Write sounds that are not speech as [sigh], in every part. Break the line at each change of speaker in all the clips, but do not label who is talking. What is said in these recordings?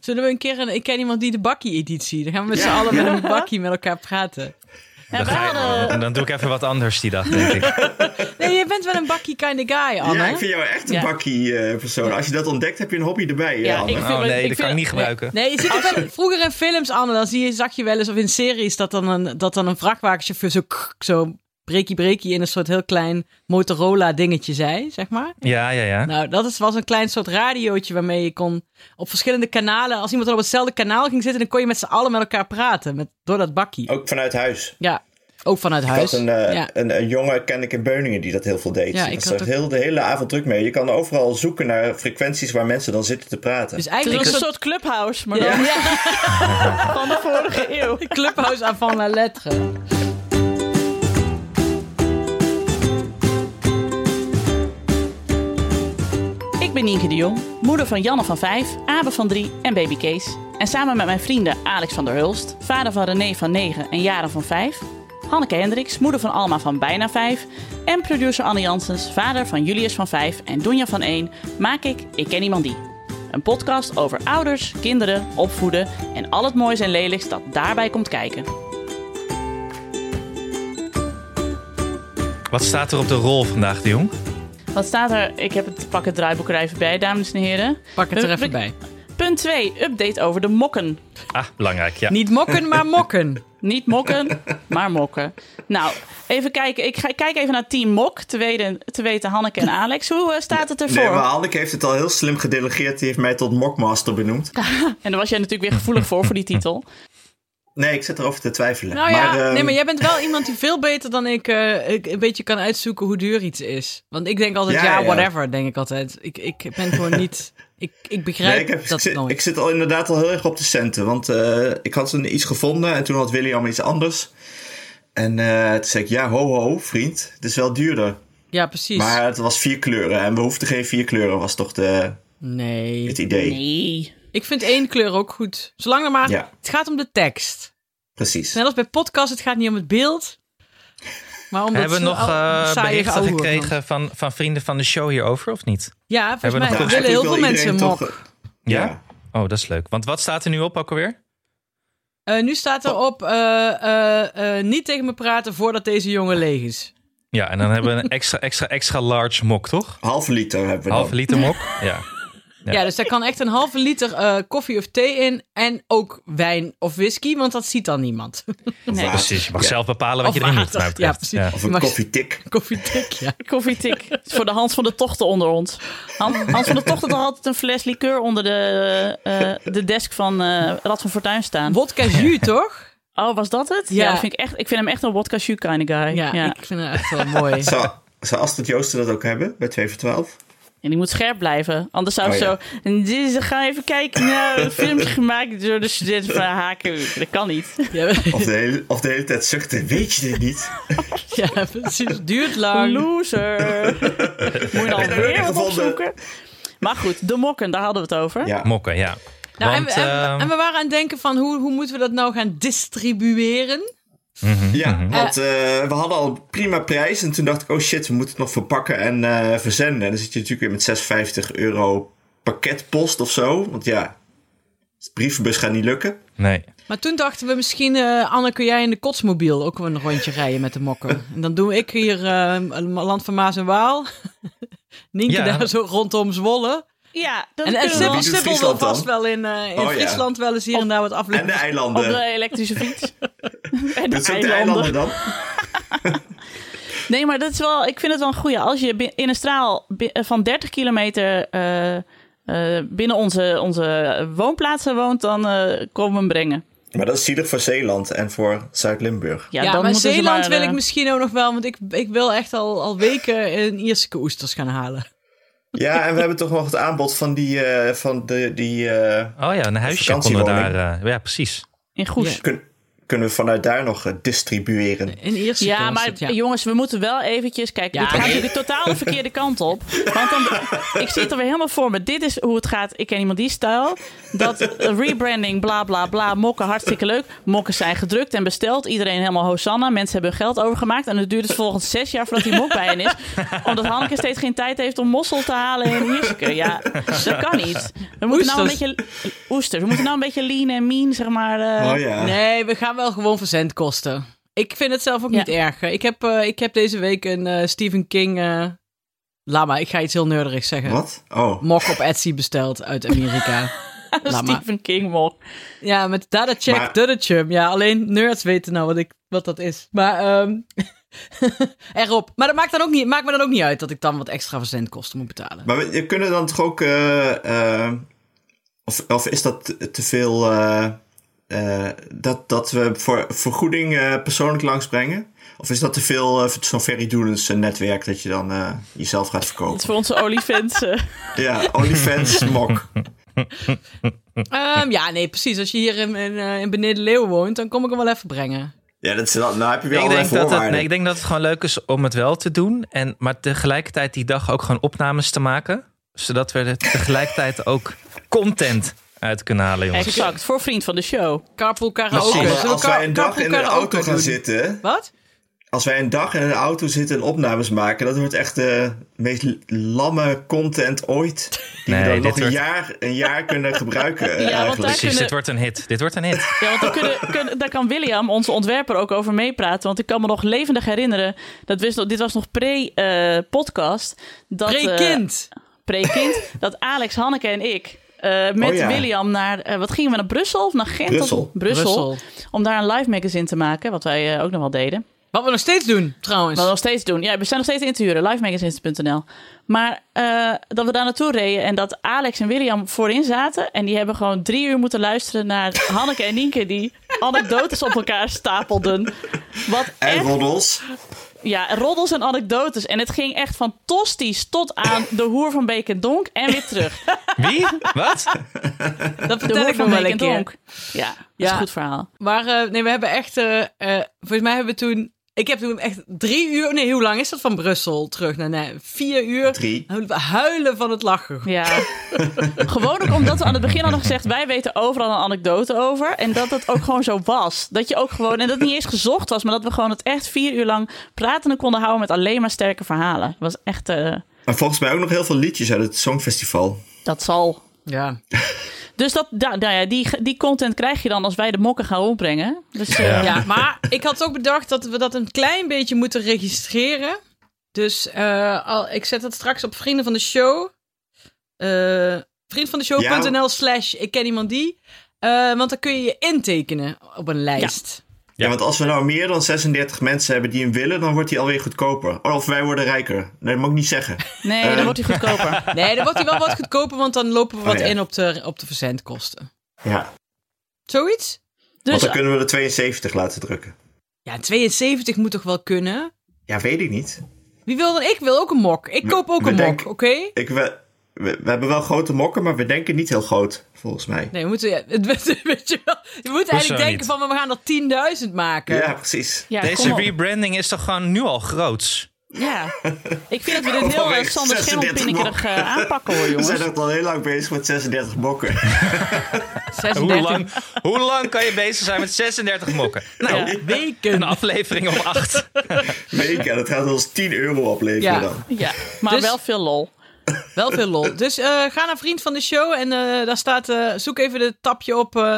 Zullen we een keer een... Ik ken iemand die de bakkie-editie... Dan gaan we met z'n allen met een bakkie met elkaar praten.
Dan,
we
ga je-
hadden-
en dan doe ik even wat anders die
[laughs]
dag, denk ik.
Nee, je bent wel een bakkie kind of guy, Anne.
Ja, ik vind jou echt een
Ja.
bakkie eh, persoon. Als je dat ontdekt, heb je een hobby erbij. eh,
Ja,
Ja,
ik-
Oh nee,
het- ik
dat
vind-
kan ik niet gebruiken.
Nee, je ziet ook wel- vroeger in films, Anne, dan zie je, zag je wel eens, of in series, dat dan een, dat dan een vrachtwagenchauffeur zo, kk, zo breekie breekie in een soort heel klein Motorola dingetje zei, zeg maar.
Ja, ja, ja.
Nou, dat is, was een klein soort radiootje waarmee je kon op verschillende kanalen, als iemand dan op hetzelfde kanaal ging zitten, dan kon je met z'n allen met elkaar praten, met, door dat bakkie.
Ook vanuit huis.
Ja, ook vanuit
Oh. Ik had
huis.
een, eh,
ja.
een, een jongen, ken ik in Beuningen, die dat heel veel deed.
Ja,
dat
ik
is
had
echt
ook-
heel, de hele avond druk mee. Je kan overal zoeken naar frequenties waar mensen dan zitten te praten.
Dus
Het
eigenlijk
was
een
een
soort
soort clubhouse, maar
ja.
dan
Ja, [laughs]
van de vorige eeuw.
clubhouse avant la lettre.
Ik ben Nienke de Jong, moeder van Janne van 5, Abe van 3 en baby Kees. En samen met mijn vrienden Alex van der Hulst, vader van René van 9 en Jaren van 5. Hanneke Hendricks, moeder van Alma van bijna 5. En producer Anne Janssens, vader van Julius van 5 en Donja van 1. Maak ik Ik Ken Iemand Die. Een podcast over ouders, kinderen, opvoeden en al het moois en lelijks dat daarbij komt kijken.
Wat staat er op de rol vandaag, de jong?
Wat staat er? Ik heb het, pak het draaiboek er even bij, dames en heren.
Pak het er even
Hup,
bij.
Punt 2, update over de mokken.
Ah, belangrijk, ja.
Niet mokken, maar mokken.
Niet
[laughs]
mokken, maar mokken. Nou, even kijken. Ik ga, kijk even naar Team Mok. Te weten, te weten Hanneke en Alex. Hoe eh, staat het ervoor?
Nee, maar Hanneke heeft het al heel slim gedelegeerd. Die heeft mij tot mockmaster benoemd.
En daar was jij natuurlijk weer gevoelig voor, voor
[laughs]
die titel.
Nee, ik zit erover te twijfelen.
Nou ja,
ehm,
nee, maar jij bent wel iemand die veel beter dan ik, eh, ik een beetje kan uitzoeken hoe duur iets is. Want ik denk altijd, ja,
Ja, ja.
whatever, denk ik altijd. Ik, ik ben gewoon niet... Ik, ik begrijp
Nee, ik, heb- ik
dat
zit,
nooit.
ik zit al inderdaad al heel erg op de centen. Want eh, ik had toen iets gevonden en toen had William iets anders. En eh, toen zei ik, ja, ho, ho, vriend. Het is wel duurder.
ja, precies.
Maar het was vier kleuren. En we hoefden geen vier kleuren, was toch de,
nee.
het idee.
Nee.
Ik vind één kleur ook goed. Zolang er maar...
Ja.
Het gaat om de tekst.
Precies.
Net als bij podcast, het gaat niet om het beeld. Maar om
Hebben we
dat
nog
zo- al-
eh,
saaie
berichten
geouwehoer.
gekregen van, van vrienden van de show hierover, of niet?
Ja, volgens
Hebben we
mij
nog-
willen heel veel
Eigenlijk Nou, dus
mensen
wil iedereen
mok.
toch, eh,
Ja?
ja.
Oh, dat is leuk. Want wat staat er nu op ook alweer?
Eh, nu staat
Oh.
er op eh, eh, eh, niet tegen me praten voordat deze jongen leeg is.
Ja, en dan hebben we een [laughs] extra, extra, extra large mok, toch?
Half liter hebben we dan.
Halve liter mok. Ja. Ja.
Ja, dus daar kan echt een halve liter eh, koffie of thee in. En ook wijn of whisky, want dat ziet dan niemand. [laughs]
Of
nee.
water.
Precies, je mag
Ja.
zelf bepalen wat
Of
je erin moet.
water.
wat mij betreft.
Ja, precies.
Ja.
Of
Je
een
mag-
koffietik.
Koffietik, ja.
Koffietik. Het is Voor de Hans van de Tochten onder ons. Han- Hans van de Tochten had altijd een fles liqueur onder de, eh, de desk van eh, Rad van Fortuin staan.
Wodka jus, toch?
Oh, was dat het?
Ja.
Ja. dat vind ik, echt, ik vind hem echt een wodka shoe kind of guy.
Ja,
Ja.
ik vind het echt wel
[laughs]
mooi.
Zou, zou Astrid Joosten dat ook hebben bij 2 voor 12?
En die moet scherp blijven. Anders zou ik
Oh, ja.
zo... En dit is- ga even kijken naar een filmpje gemaakt door de studenten van Haken. Dat kan niet.
Ja,
Of de hele, of de hele tijd zuchten, weet je dit niet?
ja, precies. Duurt lang.
[laughs]
Loser. Moet je dan
heb ik
weer wat
gevonden.
opzoeken? Maar goed, de mokken, daar hadden we het over.
Ja.
Mokken, ja.
Nou, en,
Want,
we, en, we-
ehm,
en we waren aan het denken van hoe, hoe moeten we dat nou gaan distribueren?
Ja, want eh, we hadden al een prima prijs. En toen dacht ik, oh shit, we moeten het nog verpakken en eh, verzenden. En dan zit je natuurlijk weer met 650 euro pakketpost of zo. Want ja, de brievenbus gaat niet lukken.
nee.
Maar toen dachten we misschien, eh, Anne, kun jij in de kotsmobiel ook een rondje rijden met de
[laughs]
mokken? En dan doe ik hier eh, Land van Maas en Waal. [laughs] Nienke
Ja.
daar zo rondom Zwolle.
Ja, dat
En, en
kunnen we
Sibbel,
wel.
Wie doet
Sibbel wil
Friesland dan?
vast wel in, eh, in
Oh, ja.
Friesland wel eens hier en daar wat
En de
afleveren.
Op
eilanden.
de elektrische fiets. en
Dat
de
is ook de eilanden
eilanden.
dan.
Nee, maar dat is wel, ik vind het wel een goeie. Als je bi- in een straal bi- van 30 kilometer eh, eh, binnen onze, onze woonplaatsen woont, dan eh, komen we hem brengen.
Maar dat is zielig voor Zeeland en voor Zuid-Limburg.
Ja,
ja,
dan
maar
moeten ze
Zeeland
maar,
wil
eh,
ik misschien ook nog wel, want ik, ik wil echt al, al weken een Ierse oesters gaan halen.
Ja, en we hebben toch nog het aanbod van die... eh, van de, die eh,
Oh ja, een huisje konden we daar.
vakantiewoning.
eh, ja, precies.
in Goes.
Ja.
kun- kunnen we vanuit daar nog eh, distribueren.
In eerste
Ja,
keer was
maar
het, ja.
jongens, we moeten wel eventjes... Kijk,
Ja.
dit gaat natuurlijk totaal de verkeerde kant op. Want dan, ik zie het er weer helemaal voor me. Dit is hoe het gaat. Ik ken iemand die stijl. Dat rebranding, bla bla bla. Mokken, hartstikke leuk. Mokken zijn gedrukt en besteld. Iedereen helemaal hosanna. Mensen hebben hun geld overgemaakt. En het duurt dus volgens zes jaar voordat die mok bij hen is. Omdat Hanneke steeds geen tijd heeft om mossel te halen en Jiske. Ja, dat kan niet. We moeten nou een
Oesters.
beetje... Oesters. We moeten nou een beetje lean en mean, zeg maar. eh, [laughs]
oh ja.
Nee, we gaan wel gewoon verzendkosten. Ik vind het zelf ook
Ja.
niet erg. Ik heb, eh, ik heb deze week een eh, Stephen King... eh laat maar, ik ga iets heel nerderigs zeggen.
Wat? Oh.
Mok op Etsy besteld uit Amerika. Laat maar.
Stephen King mok.
Ja, met data check,
Maar-
data chum. Ja, alleen nerds weten nou wat, ik, wat dat is. Maar ehm [laughs] erop. Maar dat maakt, dan ook niet, maakt me dan ook niet uit dat ik dan wat extra verzendkosten moet betalen.
Maar we, je kunnen dan toch ook. eh, eh, of, of is dat te- te veel. eh, eh, dat, dat we voor vergoeding eh, persoonlijk langsbrengen? Of is dat te veel eh, zo'n verridoelens eh, netwerk dat je dan eh, jezelf gaat
Dat is
verkopen?
voor onze olifants. eh.
[laughs]
Ja, OnlyFans mok.
Ehm, ja, nee, precies. Als je hier in, in, eh, in beneden Leeuwen woont, dan kom ik hem wel even brengen.
Ja, dat is, dan nou heb je weer
Ik
allerlei
denk, dat het,
voorwaarden.
nee, ik denk dat het gewoon leuk is om het wel te doen. En, maar tegelijkertijd die dag ook gewoon opnames te maken. Zodat we er tegelijkertijd [laughs] ook content uit kunnen halen, jongens.
Exact, voor vriend van de show.
Carpool karaoke.
Precies.
Zullen we
als, als
kar-
wij een dag
carpool
in een
karaoke
auto gaan
doen?
zitten.
Wat?
Als wij een dag in een auto zitten en opnames maken, dat wordt echt de meest lamme content ooit. Die
Nee,
we dan
dit
nog een,
wordt-
jaar, een jaar kunnen gebruiken. eh,
want daar
eigenlijk.
Precies,
kunnen-
dit wordt een hit. Dit wordt een hit.
Ja, want daar, [laughs] kunnen, kunnen- daar kan William, onze ontwerper, ook over meepraten. Want ik kan me nog levendig herinneren. Dat wist, dit was nog pre-podcast. dat eh,
Pre-kind.
[laughs] pre-kind. dat Alex, Hanneke en ik. eh, met
Oh ja.
William naar, eh, wat gingen we naar Brussel of naar Gent?
Brussel.
Of- Brussel. Om daar een live magazine te maken, wat wij eh, ook nog wel deden.
Wat we nog steeds doen, trouwens.
Wat we nog steeds doen. Ja, we zijn nog steeds in te huren. Livemagazines.nl. Maar eh, dat we daar naartoe reden en dat Alex en William voorin zaten. En die hebben gewoon drie uur moeten luisteren naar Hanneke en Nienke. Die anekdotes op elkaar stapelden. Wat
En
echt,
roddels.
ja, roddels en anekdotes. En het ging echt van tosties tot aan de hoer van Beek en Donk. En weer
[laughs]
terug.
Wie?
[laughs]
Wat?
Dat vertel
De hoer
ik nog
van
wel
Beek
een
en
keer.
Donk. Ja, dat is
Ja.
een goed verhaal.
Maar eh, nee, we hebben echt. eh, eh, volgens mij hebben we toen. Ik heb toen echt drie uur. Nee, hoe lang is dat van Brussel terug naar nee, vier uur?
Drie.
Hu- Huilen van het lachen.
Ja. [laughs] gewoon ook omdat we aan het begin hadden gezegd... wij weten overal een anekdote over. En dat dat ook gewoon zo was. Dat je ook gewoon... en dat het niet eens gezocht was... maar dat we gewoon het echt vier uur lang pratende konden houden... met alleen maar sterke verhalen. was echt... eh,
En volgens mij ook nog heel veel liedjes uit het Songfestival.
dat zal...
Ja.
Dus dat, da- nou ja, die, die content krijg je dan als wij de mokken gaan opbrengen. Dus, eh,
Ja.
ja, maar ik had ook bedacht dat we dat een klein beetje moeten registreren. Dus eh, al, ik zet dat straks op Vrienden van de Show. Eh vriendvandeshow.nl slash ik ken iemand die. Eh, want dan kun je je intekenen op een lijst.
Ja. want als we nou meer dan 36 mensen hebben die hem willen, dan wordt hij alweer goedkoper. Of wij worden rijker. Nee, dat mag ik niet zeggen.
Nee, dan wordt hij goedkoper.
Nee, dan wordt hij wel wat goedkoper, want dan lopen we wat
Oh, ja.
in op de, op de verzendkosten.
Ja.
Zoiets?
Want
Dus
dan kunnen we er 72 laten drukken.
Ja, 72 moet toch wel kunnen?
Ja, weet ik niet.
Wie wil dan? Ik wil ook een mok. Ik koop ook
we
een mok,
denken-
oké?
Ik, we, we, we hebben wel grote mokken, maar we denken niet heel groot, volgens mij.
Nee, we moeten, [laughs] ja, het- weet je, wel, je moet eigenlijk denken
niet?
van, we gaan er 10.000 maken.
Ja, precies.
ja, kom
Deze
op.
rebranding is toch gewoon nu al groots?
Ja. Ik vind dat we dit heel eh,
Vanwege
Sander
36
Schimmelpinnikerig eh, aanpakken hoor,
We
jongens.
zijn echt al heel lang bezig met 36 mokken. [laughs]
36
Hoe lang, hoe lang kan je bezig zijn met 36 mokken? Nou,
Ja.
een
weken.
aflevering of acht.
Weet je, dat gaat ons 10 euro opleveren
Ja.
dan.
Ja, maar
Dus-
wel veel lol.
Wel veel lol. Dus eh, ga naar Vriend van de Show en eh, daar staat, eh, zoek even het tapje op... eh,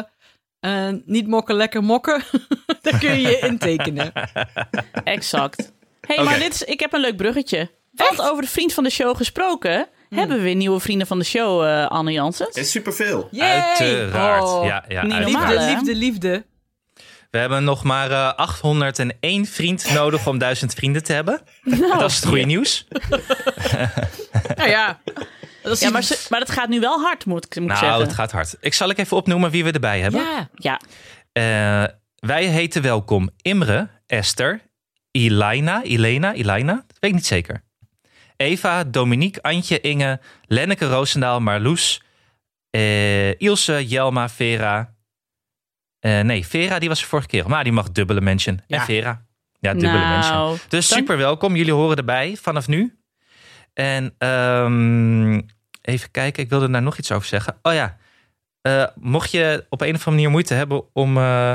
eh, niet mokken, lekker mokken. [laughs] Daar kun je je intekenen. [laughs]
Exact. hey,
Oké.
maar dit is, ik heb een leuk bruggetje. Want over de vriend van de show gesproken...
Hmm.
hebben we weer nieuwe vrienden van de show, eh Anne Janssens.
Is superveel.
Yay!
Uiteraard.
Oh.
ja, ja,
niet
uiteraard.
normaal.
Liefde,
hè?
liefde, liefde.
We hebben nog maar eh, 801 vriend nodig om 1000 vrienden te hebben. Dat is het goede nieuws.
Nou ja. Dat is
Ja, maar, ze, maar dat gaat nu wel hard, moet ik, moet ik
Nou,
zeggen.
het gaat hard. Ik zal ik even opnoemen wie we erbij hebben.
Ja.
Ja,
Eh, wij heten welkom Imre, Esther, Ilaina, Elena, Ilaina, dat weet ik niet zeker. Eva, Dominique, Antje, Inge, Lenneke Roosendaal, Marloes, eh, Ilse, Jelma, Vera, Eh, nee, Vera die was er vorige keer. Maar die mag dubbele mention.
Ja.
En Vera. Ja, dubbele mention.
nou,
Dus
dank-
super welkom. Jullie horen erbij vanaf nu. En ehm, even kijken, ik wilde daar nog iets over zeggen. Oh ja, Eh, mocht je op een of andere manier moeite hebben om eh,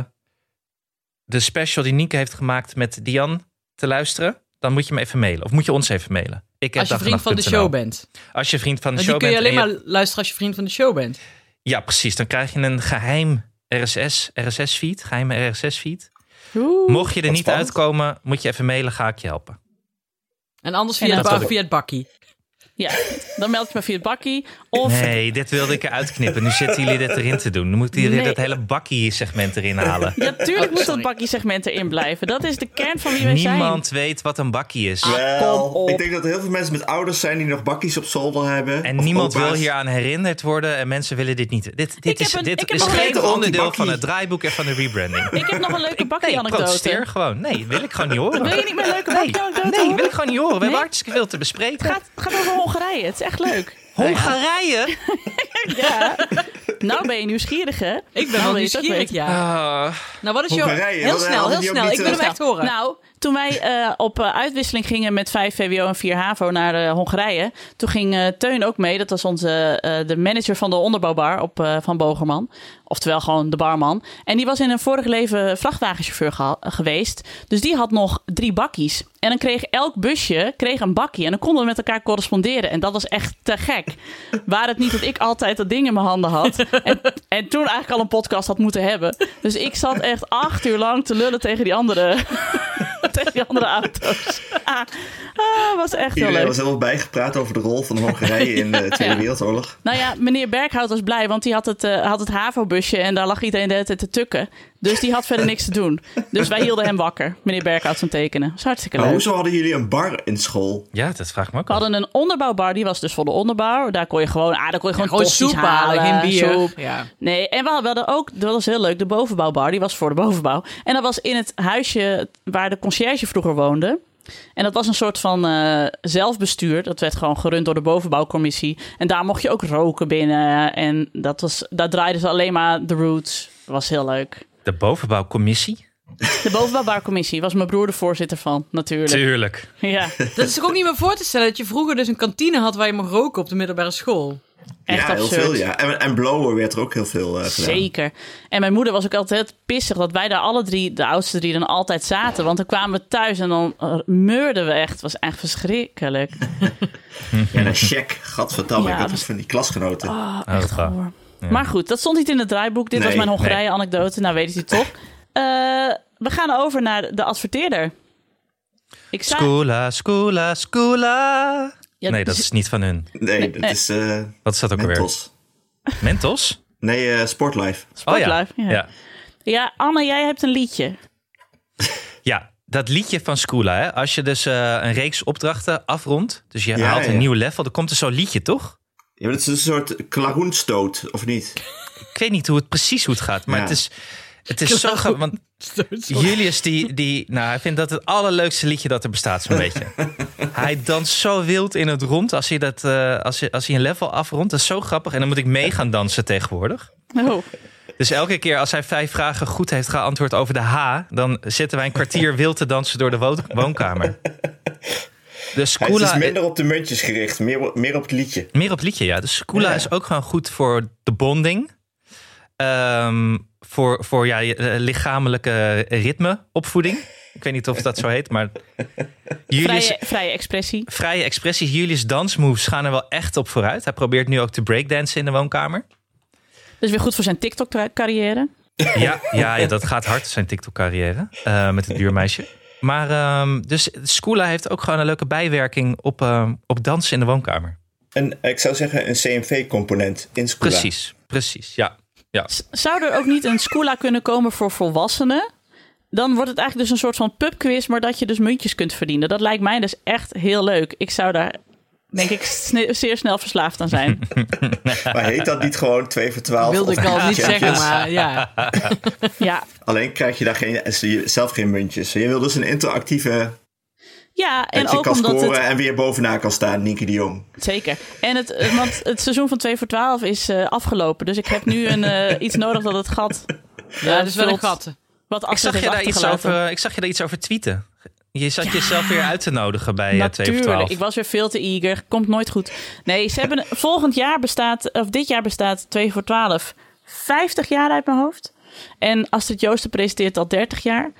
de special die Nienke heeft gemaakt met Dian te luisteren, dan moet je me even mailen. Of moet je ons even mailen. Ik heb
Als je
dag en
vriend
nacht
van de
punt
show
NL.
bent.
Als je vriend van de
Want die
show
kun je
bent.
alleen
en
maar luisteren als je vriend van de show bent.
Ja, precies. Dan krijg je een geheim RSS, RSS-feed, geheime RSS-feed. Mocht je er
Wat
niet
spannend.
uitkomen, moet je even mailen, ga ik je helpen.
En anders
En
via,
dat
het, ba-
ook.
via het bakkie.
Ja, dan meld je me via het bakkie. Of
Nee, dit wilde ik eruit knippen. Nu zitten jullie dit erin te doen. Nu moeten jullie
Nee.
dat hele bakkie segment erin
[laughs]
halen.
Ja, tuurlijk
Oh,
moet dat
sorry.
bakkiesegment erin blijven. Dat is de kern van wie wij
Niemand weet wat een bakkie is.
Ah. kom op.
Wel, ik denk dat er heel veel mensen met ouders zijn die nog bakkies op zolder hebben.
En
Of
niemand
opa's.
wil hieraan herinnerd worden. En mensen willen dit niet. Dit, dit
Ik
is,
heb een- ik
dit
heb
is
een
geen
leuke
onderdeel
anti-bakkie.
van het draaiboek en van de rebranding.
zijn. Ik heb nog een leuke
Nee, protesteer
bakkie-anekdote.
gewoon. Nee, wil ik gewoon niet horen.
Wil je niet mijn leuke bakkie-anekdote
Nee,
horen?
wil ik gewoon niet horen. We hebben
Nee?
hartstikke veel te bespreken.
Het gaat, gaat over Hongarije. Het is echt leuk.
Hongarije?
Ja. [laughs] Nou ben je nieuwsgierig, hè?
Ik ben wel
wil je het ook
nieuwsgierig,
weten.
ja.
Ah,
Nou, wat is jouw...
Hongarije,
Heel
wat-
snel,
hadden
heel
die ook
snel.
niet,
Ik wil hem
eh,
echt horen.
Nou, toen wij eh, op eh, uitwisseling gingen met 5 VWO en 4 HAVO naar eh, Hongarije, toen ging eh, Teun ook mee. Dat was onze, eh, de manager van de onderbouwbar op, eh, van Bogerman. Oftewel gewoon de barman. En die was in een vorig leven vrachtwagenchauffeur geha- geweest. Dus die had nog drie bakkies. En dan kreeg elk busje kreeg een bakkie. En dan konden we met elkaar corresponderen. En dat was echt te gek. Waar het niet dat ik altijd dat ding in mijn handen
[laughs]
had. En, en toen eigenlijk al een podcast had moeten hebben. Dus ik zat echt acht uur lang te lullen tegen die andere [laughs] tegen die andere auto's. Ah, ah, was echt heel
Iedereen
leuk.
was helemaal bijgepraat over de rol van Hongarije in
[laughs]
de Tweede
Ja.
Wereldoorlog.
Nou ja, meneer Berghout was blij, want die had het, eh, had het HAVO-busje en daar lag iedereen de hele tijd te tukken. Dus die had verder niks te doen. Dus wij hielden hem wakker, meneer Berghout van tekenen. Dat is hartstikke
Maar
leuk.
Oh, hoezo hadden jullie een bar in school?
ja, dat vraag ik me ook
We
af.
hadden een onderbouwbar, die was dus voor de onderbouw. Daar kon je gewoon, ah, daar kon je gewoon,
Gewoon
tosti's
soep halen, geen bier.
soep.
Ja.
Nee, en we hadden ook, dat was heel leuk, de bovenbouwbar. Die was voor de bovenbouw. En dat was in het huisje waar de conciërge vroeger woonde. En dat was een soort van eh, zelfbestuur. Dat werd gewoon gerund door de bovenbouwcommissie. En daar mocht je ook roken binnen. En dat was, daar draaiden ze alleen maar de roots. Dat was heel leuk.
De bovenbouwcommissie?
De bovenbouwbarcommissie was mijn broer de voorzitter van, natuurlijk.
Tuurlijk.
Ja,
[laughs] Dat is toch ook niet meer voor te stellen dat je vroeger dus een kantine had waar je mocht roken op de middelbare school.
echt
ja,
absurd.
heel veel, ja. En, en blower werd er ook heel veel eh gedaan.
Zeker. En mijn moeder was ook altijd pissig dat wij daar alle drie, de oudste drie, dan altijd zaten. Want dan kwamen we thuis en dan eh, meurden we echt. Het was echt verschrikkelijk.
En een check, gadverdamme,
Ja,
ik had
dat-
het van die klasgenoten.
Oh,
Oh,
echt
wauw.
goor. Maar goed, dat stond niet in het draaiboek. Dit
Nee,
was mijn Hongarije-anekdote. Nou weet je
[laughs]
het toch. Eh, we gaan over naar de adverteerder. Ik zei...
Scula, scula, scula.
Ja, dus-
Nee, dat
z-
is niet van hun.
nee, dat
nee.
is eh
Wat is dat ook alweer?
Mentos.
Mentos?
Nee, eh, Sportlife.
Sportlife,
Oh,
ja.
ja. Ja.
Ja, Anne, jij hebt een liedje.
Ja, dat liedje van Skoola. Hè? Als je dus eh, een reeks opdrachten afrondt. Dus je
Ja,
haalt een
ja.
nieuw level. Dan komt er zo'n liedje, toch?
Ja, maar dat is een soort klaroenstoot, of niet?
Ik weet niet hoe het precies hoe het gaat. Maar
Ja.
het is, het is zo... ge- Want Julius, die, die, nou, hij vindt dat het allerleukste liedje dat er bestaat, zo'n
[laughs]
beetje. Hij danst zo wild in het rond als hij, dat, eh, als, hij, als hij een level afrondt. Dat is zo grappig. En dan moet ik mee gaan dansen tegenwoordig.
Oh.
Dus elke keer als hij vijf vragen goed heeft geantwoord over de H, dan zitten wij een kwartier wild te dansen door de wo- woonkamer. Dus
Hij is dus
Skoola,
minder op de muntjes gericht, meer, meer op het liedje.
meer op liedje, ja. Dus Skoola
Ja.
is ook gewoon goed voor de bonding. Ehm, voor voor ja, je, eh, lichamelijke ritmeopvoeding. Ik weet niet of dat zo heet, maar. Julius,
Vrije, vrije expressie.
vrije expressies, Julius dansmoves gaan er wel echt op vooruit. Hij probeert nu ook te breakdansen in de woonkamer.
Dus weer goed voor zijn TikTok-carrière.
Ja, ja, ja, dat gaat hard, zijn TikTok-carrière. eh, met het buurmeisje. Maar ehm, dus Skoola heeft ook gewoon een leuke bijwerking op, ehm, op dansen in de woonkamer.
En ik zou zeggen een CMV-component in Scoola.
Precies, precies, ja. ja.
Z- Zou er ook niet een Scoola kunnen komen voor volwassenen? Dan wordt het eigenlijk dus een soort van pubquiz, maar dat je dus muntjes kunt verdienen. Dat lijkt mij dus echt heel leuk. Ik zou daar, denk ik, sne- zeer snel verslaafd aan
[laughs]
zijn.
Maar heet dat niet gewoon 2 voor 12?
wilde
of
ik al niet
Champions?
zeggen,
[laughs]
maar ja.
Ja,
Alleen krijg je daar geen, zelf geen muntjes. Je wil dus een interactieve
ja en
dat je
ook
kan
omdat
scoren
het...
en weer bovenaan kan staan, Nienke de Jong.
Zeker. En het, eh, want het seizoen van 2 voor 12 is eh, afgelopen. Dus ik heb nu een, eh, iets nodig dat het gat
Ja, dat is wel een
vult
gat.
Ik
Wat
zag,
afzet
je
heeft
daar iets
achtergelaten.
over, ik zag je daar iets over tweeten. Je zat jezelf weer uit te nodigen bij eh, 2 voor 12.
Natuurlijk, ik was weer veel te eager. Komt nooit goed. Nee, ze hebben volgend jaar bestaat, of dit jaar bestaat 2 voor 12 50 jaar uit mijn hoofd. En Astrid Joosten presenteert al 30 jaar.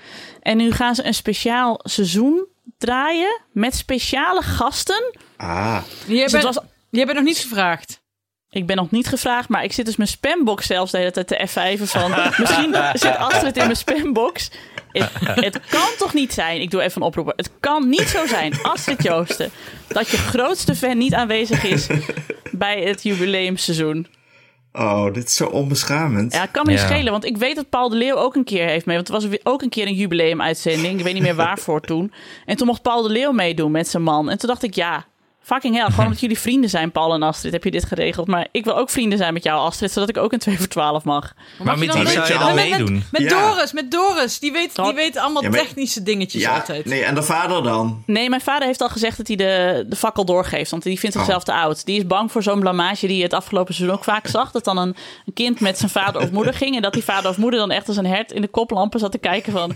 En nu gaan ze een speciaal seizoen draaien met speciale gasten.
Ah,
Jij
Dus het
bent,
was,
jij bent nog niet gevraagd.
ik ben nog niet gevraagd, maar ik zit dus mijn spambox zelfs de hele tijd te F5 van. Misschien zit Astrid in mijn spambox. Het, het kan toch niet zijn, ik doe even een oproep. Het kan niet zo zijn, Astrid Joosten, dat je grootste fan niet aanwezig is bij het jubileumseizoen.
oh, dit is zo onbeschamend.
Ja, het kan me niet
Ja.
schelen, want ik weet dat Paul de Leeuw ook een keer heeft mee. Want er was weer- ook een keer een jubileumuitzending, ik weet niet meer waarvoor toen. En toen mocht Paul de Leeuw meedoen met zijn man. En toen dacht ik, ja, fucking hell, gewoon omdat jullie vrienden zijn, Paul en Astrid, heb je dit geregeld. Maar ik wil ook vrienden zijn met jou, Astrid, zodat ik ook een 2 voor 12 mag.
Maar
Mag
met
dan
die
weet
mee-
zou je
je
dan
al-
met,
meedoen.
met, met
Ja.
Doris, met Doris. Die weet, die
Dat-
weet allemaal
Ja, maar-
technische dingetjes
Ja,
altijd.
nee, en de vader dan?
Nee, mijn vader heeft al gezegd dat hij de, de fakkel doorgeeft. Want die vindt zichzelf te oud. Die is bang voor zo'n blamage die je het afgelopen seizoen ook vaak zag. Dat dan een, een kind met zijn vader of moeder ging. En dat die vader of moeder dan echt als een hert in de koplampen zat te kijken van...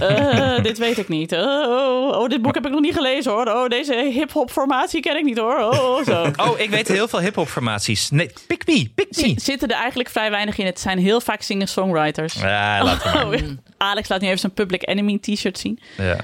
eh, dit weet ik niet. Oh, oh, oh, dit boek heb ik nog niet gelezen hoor. Oh, deze hip-hop formatie ken ik niet hoor. Oh, oh, zo.
Oh, ik weet heel veel hip-hop formaties. Nee, pick me, pick me.
Zi-
[laughs]
Zitten er eigenlijk vrij weinig in. Het zijn heel vaak singer-songwriters.
Ja, laat maar.
Oh, Alex laat nu even zijn Public Enemy t-shirt zien.
Ja.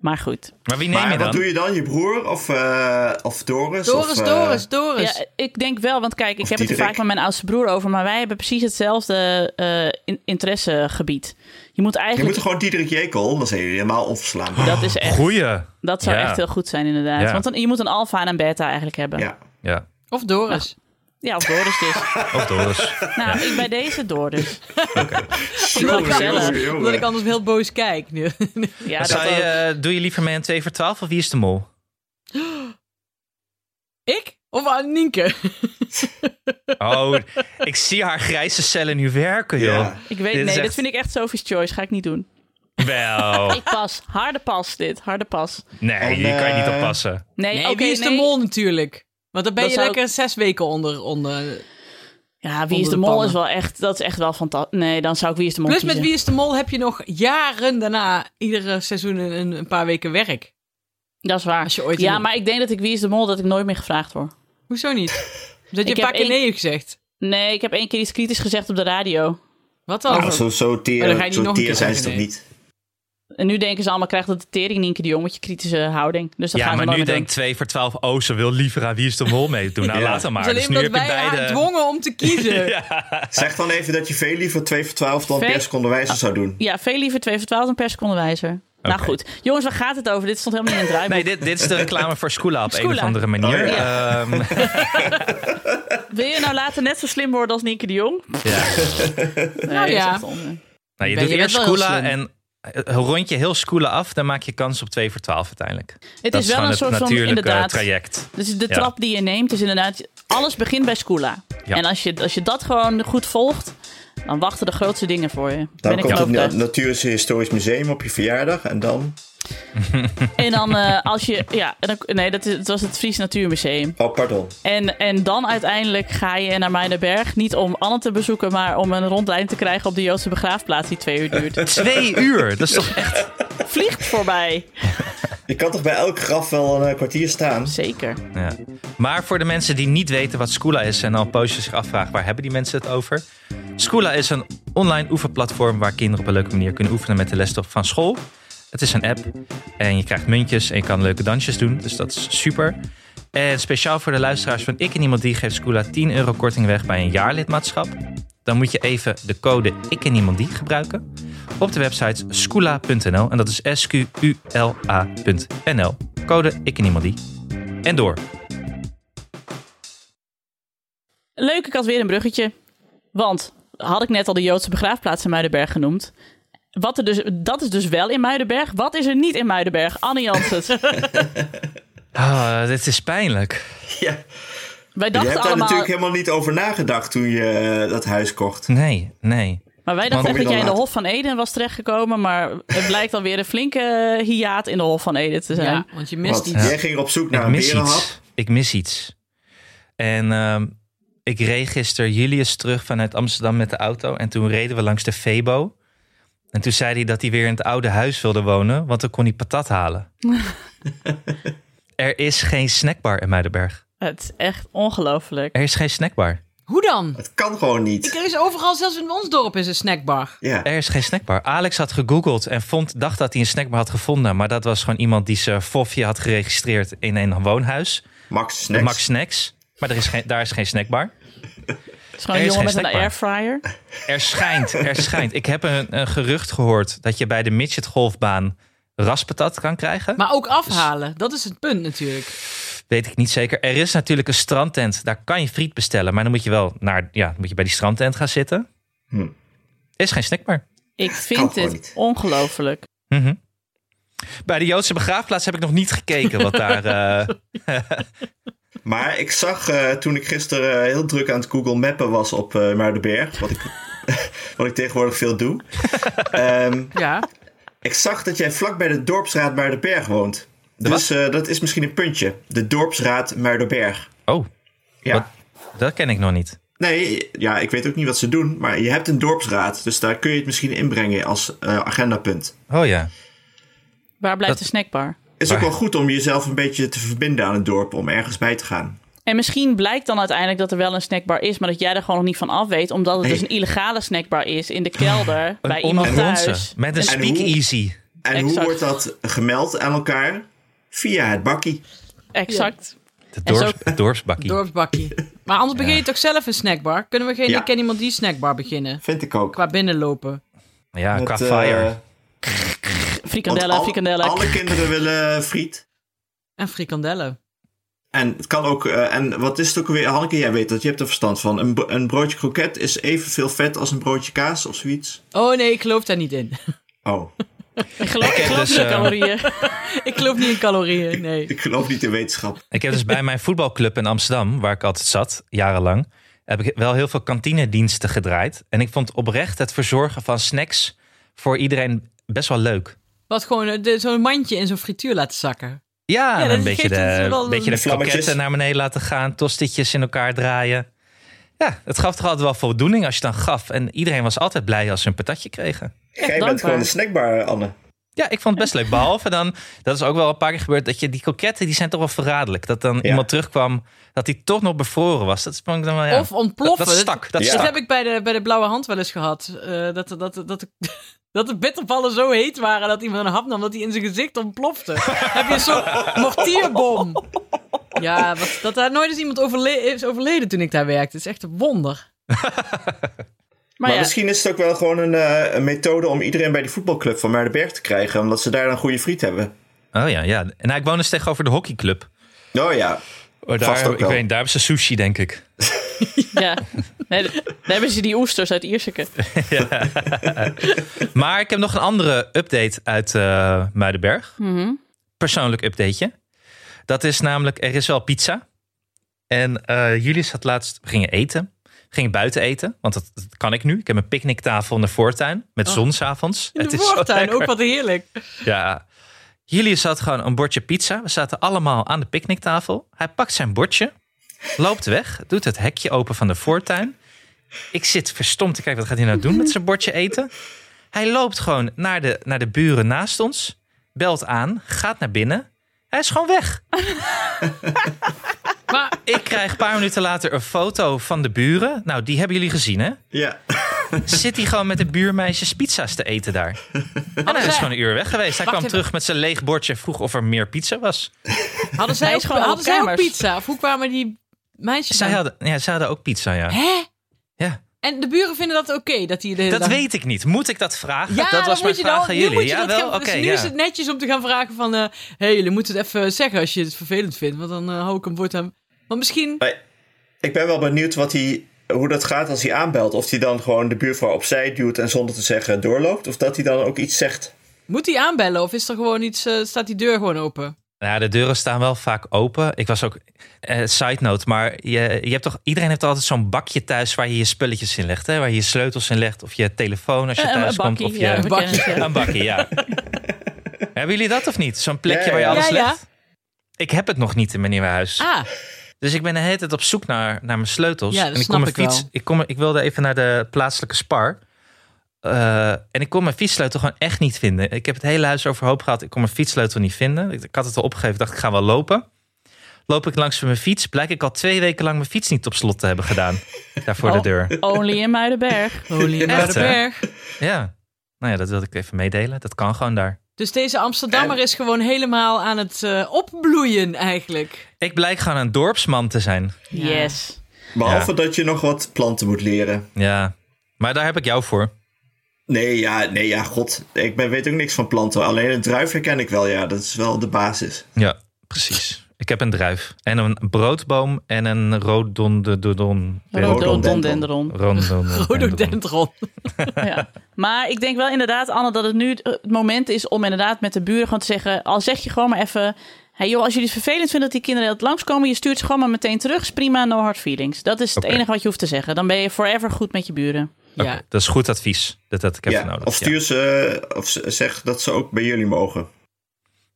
Maar goed.
Maar wie neem
Maar
je
wat
dan?
doe je dan? Je broer of, eh, of Doris?
Doris,
of, eh,
Doris, Doris.
Ja, ik denk wel, want kijk, ik heb het er
Diederik.
vaak met mijn oudste broer over, maar wij hebben precies hetzelfde eh, in- interessegebied. Je moet
Je
eigenlijk.
moet gewoon Diederik Jekel, dan zijn jullie helemaal onverslaanbaar.
Dat is echt.
Goeie.
Dat zou
Ja.
echt heel goed zijn, inderdaad.
Ja.
Want dan, je moet een alfa en een beta eigenlijk hebben. Ja,
Ja.
Ja,
Of Doris.
of Doris dus.
of Doris.
nou, ik bij deze Doris.
Jongen,
Omdat ik
jongen,
anders-
jongen.
Omdat ik anders heel boos kijk nu. [laughs]
Ja, dat
Zou je,
ook.
eh, doe je liever mee aan 2 voor 12 of wie is de mol?
ik? Of aan Nienke?
Oh, ik zie haar grijze cellen nu werken, joh.
Ja.
Ik weet,
Dit
nee,
is echt-
dit vind ik echt Sophie's Choice. Ga ik niet doen.
Wel,
Ik pas. Harde pas dit. Harde pas.
nee,
En,
die kan je niet
eh,
oppassen.
Nee,
Nee,
oké,
Oh, wie is de
nee.
mol natuurlijk? Want dan ben
Dat
je
zou-
lekker zes weken onder. onder.
Ja, wie
Onder
is de
de
mol
pannen.
is wel echt. Dat is echt wel fantastisch. Nee, dan zou ik wie is de mol
Plus met
kiezen.
Wie is de Mol heb je nog jaren daarna iedere seizoen een, een paar weken werk.
Dat is waar.
Als je ooit
ja,
een-
maar ik denk dat ik wie is de mol dat ik nooit meer gevraagd word.
Hoezo
[laughs]
niet? Dat je
heb
een paar keer
één-
nee hebt gezegd.
Nee, ik heb één keer iets kritisch gezegd op de radio.
Wat dan?
Nou, zo, zo
Maar Oh, dan ga je
teer,
niet
zo
nog een
teer
keer
zijn ze
zeggen, nee.
toch niet?
En nu denken ze allemaal, krijgt dat de tering Nienke de Jong met je kritische houding. Dus dat
Ja,
gaan ze
maar nu
nooit meer
denkt 2 voor 12, oh, ze wil liever aan Wie is de Mol meedoen. Nou,
Ja.
laat hem maar.
Dus
Dus
alleen
nu
omdat
heb je
wij haar
beide...
dwongen om te
[laughs]
kiezen.
Zeg dan even dat je veel liever 2 voor 12 dan
Veel-
per seconde wijzer
Ah,
zou doen.
doen. Ja, veel liever 2 voor 12 dan per seconde wijzer. Nou
Oké.
goed. Jongens, waar gaat het over? Dit stond helemaal niet in het
Nee,
draaiboek.
dit, dit is de reclame voor Scoola op een
Skoola.
of andere manier.
Oh,
Ehm,
Wil je nou later net zo slim worden als Nienke de Jong?
ja.
Nee,
Nou ja.
dat is echt onzin.
Nou, je
Ben
doet
je
eerst
best wel heel
Scoola
slim.
en eh, rond je heel Scoola af, dan maak je kans op 2 voor 12 uiteindelijk.
Het
dat
is wel
gewoon
een
het
soort van,
natuurlijke
inderdaad,
traject.
Dus de
Ja.
trap die je neemt is inderdaad... Alles begint bij Skoola.
Ja.
En als je, als je dat gewoon goed volgt... dan wachten de grootste dingen voor je.
Dan
ben ik
komt
van
het Na-
overtuigd.
Natuurisch Historisch Museum op je verjaardag en dan...
En dan eh, als je... Ja, en dan, nee, dat, is, het was het Fries Natuurmuseum.
Oh, pardon.
En, en dan uiteindelijk ga je naar Mijnenberg. Niet om Anne te bezoeken, maar om een rondleiding te krijgen op de Joodse begraafplaats die twee uur
[laughs]
duurt.
Twee uur, dat is toch echt...
Vliegt voorbij.
Je kan toch bij elk graf wel een eh, kwartier staan?
Zeker.
Ja. Maar voor de mensen die niet weten wat Scoola is en al een poosje zich afvragen waar hebben die mensen het over. Scoola is een online oefenplatform waar kinderen op een leuke manier kunnen oefenen met de lesstof van school. Het is een app en je krijgt muntjes en je kan leuke dansjes doen, dus dat is super. En speciaal voor de luisteraars van Ik en Niemand Die geeft Scoola 10 euro korting weg bij een jaarlidmaatschap. Dan moet je even de code Ik en Niemand Die gebruiken op de website scoola.nl en dat is S-Q-U-L-A.nl. Code Ik en Niemand Die. En door.
Leuk, ik had weer een bruggetje. Want had ik net al de Joodse begraafplaats in Muidenberg genoemd. Wat er dus, dat is dus wel in Muidenberg. Wat is er niet in Muidenberg? Anne Janssens.
Ah, dit is pijnlijk.
Ja.
wij
Je hebt
dachten
daar
allemaal...
natuurlijk helemaal niet over nagedacht toen je eh, dat huis kocht.
Nee, nee.
Maar wij dachten
Waarom
echt dat
je
jij
dan
in de
laat?
Hof van Eden was terechtgekomen. Maar het blijkt alweer een flinke eh, hiaat in de Hof van Eden te zijn.
Ja, want je mist
Want
iets.
jij ging op zoek naar
Ik
een
mis
berenhap.
iets. Ik mis iets. En ehm, ik reed gisteren Julius terug vanuit Amsterdam met de auto. En toen reden we langs de Febo. En toen zei hij dat hij weer in het oude huis wilde wonen, want dan kon hij patat halen. er is geen snackbar in Muidenberg.
Het is echt ongelooflijk.
Er is geen snackbar.
Hoe dan?
Het kan gewoon niet.
Ik, er is overal, zelfs in ons dorp, is een snackbar.
Ja.
Er is geen snackbar. Alex had gegoogeld en vond, dacht dat hij een snackbar had gevonden. Maar dat was gewoon iemand die zijn fofje had geregistreerd in een woonhuis.
Max Snacks.
Max Snacks. Maar er is geen, daar is geen snackbar.
Het is gewoon
Er
een
is
jongen met
geen
een airfryer.
Er schijnt,
[laughs]
er schijnt. Ik heb een, een gerucht gehoord dat je bij de midget golfbaan raspatat kan krijgen.
Maar ook afhalen, dat is het punt natuurlijk.
Weet ik niet zeker. Er is natuurlijk een strandtent. Daar kan je friet bestellen. Maar dan moet je wel naar, ja, dan moet je bij die strandtent gaan zitten.
Hm.
Er is geen snackbar.
Ik
Kan
vind
gewoon
dit
niet.
ongelooflijk.
Mhm. Bij de Joodse begraafplaats heb ik nog niet gekeken wat
[laughs]
daar. eh,
Maar ik zag eh, toen ik gisteren eh, heel druk aan het Google Mappen was op eh Muidenberg, wat ik, [laughs] wat ik tegenwoordig veel doe. Ehm,
Ja.
ik zag dat jij vlak bij de dorpsraad Muidenberg woont. Dus eh, dat is misschien een puntje. De dorpsraad Muidenberg.
Oh,
Ja.
Wat? dat ken ik nog niet.
Nee, ja, ik weet ook niet wat ze doen, maar je hebt een dorpsraad, dus daar kun je het misschien inbrengen als eh, agendapunt.
Oh ja.
Waar blijft
Dat-
de snackbar?
Het is ook
Maar-
wel goed om jezelf een beetje te verbinden aan het dorp, om ergens bij te gaan.
En misschien blijkt dan uiteindelijk dat er wel een snackbar is, maar dat jij er gewoon nog niet van af weet, omdat het
Nee.
dus een illegale snackbar is in de kelder bij
Een
iemand
ondergrondse.
thuis. Dus
Met een
En hoe-
speakeasy.
En hoe
Exact.
wordt dat gemeld aan elkaar? Via het bakkie.
Exact.
De
En zo-
dorps, het dorpsbakkie.
Dorpsbakkie. Maar anders begin je toch zelf een snackbar? Kunnen we geen
Ja.
Ik ken iemand die snackbar beginnen?
Vind ik ook.
Qua binnenlopen.
ja, qua
Met, eh,
fire.
want
Frikandellen,
al-
frikandellen.
Alle kinderen willen friet.
En frikandellen.
En het kan ook, eh, en wat is het ook weer, Hanneke, jij weet dat, je hebt er verstand van. Een, bro- een broodje kroket is evenveel vet als een broodje kaas of zoiets.
Oh nee, ik geloof daar niet in. [laughs]
Oh,
[laughs] Ik geloof, ik geloof
dus,
niet in
eh,
[laughs]
calorieën.
ik geloof niet in calorieën, nee.
ik geloof niet in wetenschap.
Ik heb dus bij mijn voetbalclub in Amsterdam, waar ik altijd zat, jarenlang, heb ik wel heel veel kantinediensten gedraaid. En ik vond oprecht het verzorgen van snacks voor iedereen best wel leuk.
Wat gewoon eh, de- zo'n mandje in zo'n frituur laten zakken.
Ja, en
dat
een beetje
geeft het
de,
wel
een beetje
een-
de
Vlammetjes.
kroketten naar beneden laten gaan, tostetjes in elkaar draaien. Ja, het gaf toch altijd wel voldoening als je dan gaf. En iedereen was altijd blij als ze een patatje kregen.
Jij bent
dankbaar.
gewoon een snackbar, Anne.
Ja, ik vond het best leuk. Behalve dan, dat is ook wel een paar keer gebeurd, dat je die kroketten, die zijn toch wel verraderlijk. Dat dan iemand terugkwam, dat die toch nog bevroren was. Dat vond ik dan wel, ja.
Of ontploffen.
Dat, dat stak, dat
Ja.
Dat
stak.
heb ik bij de, bij de Blauwe Hand wel eens gehad. Eh, dat, dat, dat, [laughs] dat, dat de bitterballen zo heet waren dat iemand een hap nam dat hij in zijn gezicht ontplofte.
[laughs]
heb je zo'n mortierbom. Ja, wat, dat daar nooit eens iemand overle- is overleden toen ik daar werkte. Het is echt een wonder.
Maar,
Maar
ja,
misschien is het ook wel gewoon een, eh, een methode om iedereen bij die voetbalclub van Muidenberg te krijgen, omdat ze daar een goede friet hebben.
Oh ja, ja. En nou, ik woon dus tegenover de hockeyclub.
Oh ja,
Oh,
Vast
daar,
ook
ik
wel.
weet, niet, daar hebben ze sushi, denk ik.
ja. Nee, d- daar hebben ze die oesters uit Ierseke.
Maar ik heb nog een andere update uit eh, Muidenberg.
Mhm.
Persoonlijk updateje. Dat is namelijk, er is wel pizza. En eh, Julius had laatst, we gingen eten. We gingen buiten eten, want dat, dat kan ik nu. Ik heb een picknicktafel in de voortuin met zon s'avonds.
In de
is zo
voortuin,
lekker.
ook wat heerlijk.
Ja. Julius had gewoon een bordje pizza. We zaten allemaal aan de picknicktafel. Hij pakt zijn bordje, loopt weg, doet het hekje open van de voortuin. Ik zit verstomd te kijken, wat gaat hij nou doen met zijn bordje eten? Hij loopt gewoon naar de, naar de buren naast ons, belt aan, gaat naar binnen. Hij is gewoon weg.
Maar
Ik krijg een paar minuten later een foto van de buren. Nou, die hebben jullie gezien, hè?
ja.
Zit hij gewoon met de buurmeisjes pizza's te eten daar? En hij is gewoon een uur weg geweest. Hij
Oh, Wacht
kwam
even.
terug met zijn leeg bordje en vroeg of er meer pizza was.
hadden zij,
Hij is
ook,
gewoon
hadden zij ook
kamers.
pizza? Of hoe kwamen die meisjes
Zij
aan?
hadden, ja, zij hadden ook pizza, ja.
Hè?
ja.
En de buren vinden dat oké? dat die de hele
Dat
dag-
weet ik niet. Moet ik dat vragen?
Ja,
dat
dan
was
moet
mijn
je
vraag
dan,
aan
nu
jullie.
moet je
Ja,
dat
wel,
gaan-
oké.
dus nu
ja.
is het netjes om te gaan vragen van... eh hey, jullie moeten het even zeggen als je het vervelend vindt. Want dan eh, hou ik hem voortaan... Want misschien...
Ik ben wel benieuwd wat hij, hoe dat gaat als hij aanbelt. Of hij dan gewoon de buurvrouw opzij duwt en zonder te zeggen doorloopt. Of dat hij dan ook iets zegt.
Moet hij aanbellen of is er gewoon iets, eh, staat die deur gewoon open?
Nou Ja, de deuren staan wel vaak open. Ik was ook, eh, side note, maar je, je hebt toch, iedereen heeft altijd zo'n bakje thuis waar je je spulletjes in legt. Hè? Waar je je sleutels in legt of je telefoon als je
Eh, een
thuis komt.
bakkie,
Of je,
ja,
een
[laughs]
we
bakkie.
kennen het, ja.
Een bakje,
[laughs]
ja. Hebben jullie dat of niet? Zo'n plekje
Ja, ja,
waar je
ja.
alles
Ja, ja.
legt? Ik heb het nog niet in mijn nieuwe huis.
Ah,
Dus ik ben de hele tijd op zoek naar, naar mijn sleutels.
Ja, dat
en ik
snap
kon mijn
ik
fiets.
wel.
Ik, kon, ik wilde even naar de plaatselijke spar. Eh, en ik kon mijn fietssleutel gewoon echt niet vinden. Ik heb het hele huis overhoop gehad. Ik kon mijn fietssleutel niet vinden. Ik, ik had het al opgegeven. dacht, ik ga wel lopen. Loop ik langs mijn fiets. Blijk ik al twee weken lang mijn fiets niet op slot te hebben
[laughs]
gedaan. Daar voor de
Oh.
deur.
Only in Muidenberg.
Holy
Echt,
Muidenberg.
Ja. Nou ja, dat wilde ik even meedelen. Dat kan gewoon daar.
Dus deze Amsterdammer
En-
is gewoon helemaal aan het eh, opbloeien eigenlijk.
Ik blijk gewoon een dorpsman te zijn.
Yes.
Behalve dat je nog wat planten moet leren.
Ja. Maar daar heb ik jou voor.
Nee, ja, nee, ja, god. Ik ben, weet ook niks van planten. Alleen een druif herken ik wel, ja. Dat is wel de basis.
Ja, precies. Ik heb een druif. En een broodboom en een rhododendron.
Rhododendron.
Rhododendron.
Rhododendron.
Ja. Maar ik denk wel inderdaad, Anne, dat het nu het moment is om inderdaad met de buren gewoon te zeggen... al zeg je gewoon maar even... Hey joh, als jullie het vervelend vinden dat die kinderen het langskomen... je stuurt ze gewoon maar meteen terug. Is prima, no hard feelings. Dat is het
Oké.
enige wat je hoeft te zeggen. Dan ben je forever goed met je buren.
Ja.
Oké, Dat is goed advies. Dat had ik even
ja.
nodig.
Of
ja.
stuur ze, of z- zeg dat ze ook bij jullie mogen.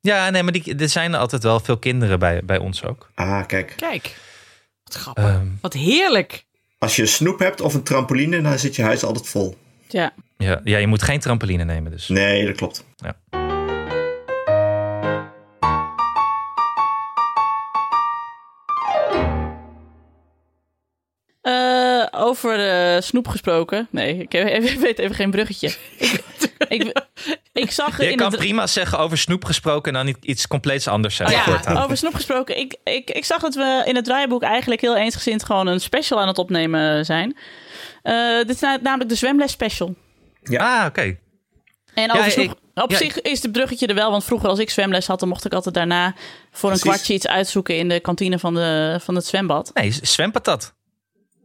Ja, nee, maar die, er zijn altijd wel veel kinderen bij, bij ons ook.
Ah, kijk.
Kijk. Wat grappig.
Ehm,
Wat heerlijk.
Als je een snoep hebt of een trampoline, dan zit je huis altijd vol.
Ja.
ja, ja, je moet geen trampoline nemen dus.
Nee, dat
Oh,
klopt.
Eh, over eh, snoep gesproken. Nee, ik, heb, ik weet even [laughs] geen bruggetje. ik, ik, ik zag
Je
in
kan
het...
prima zeggen over snoep gesproken en dan niet iets compleets anders zeggen.
Ja.
voortaan.
Over snoep gesproken. Ik, ik, ik zag dat we in het draaiboek eigenlijk heel eensgezind gewoon een special aan het opnemen zijn. Eh, dit is na- namelijk de zwemles special.
Ah, oké.
En over
Ja,
snoep- op
ja,
zich is de bruggetje er wel, want vroeger als ik zwemles had, dan mocht ik altijd daarna voor
Precies.
een kwartje iets uitzoeken in de kantine van, de, van het zwembad.
Nee, zwempatat.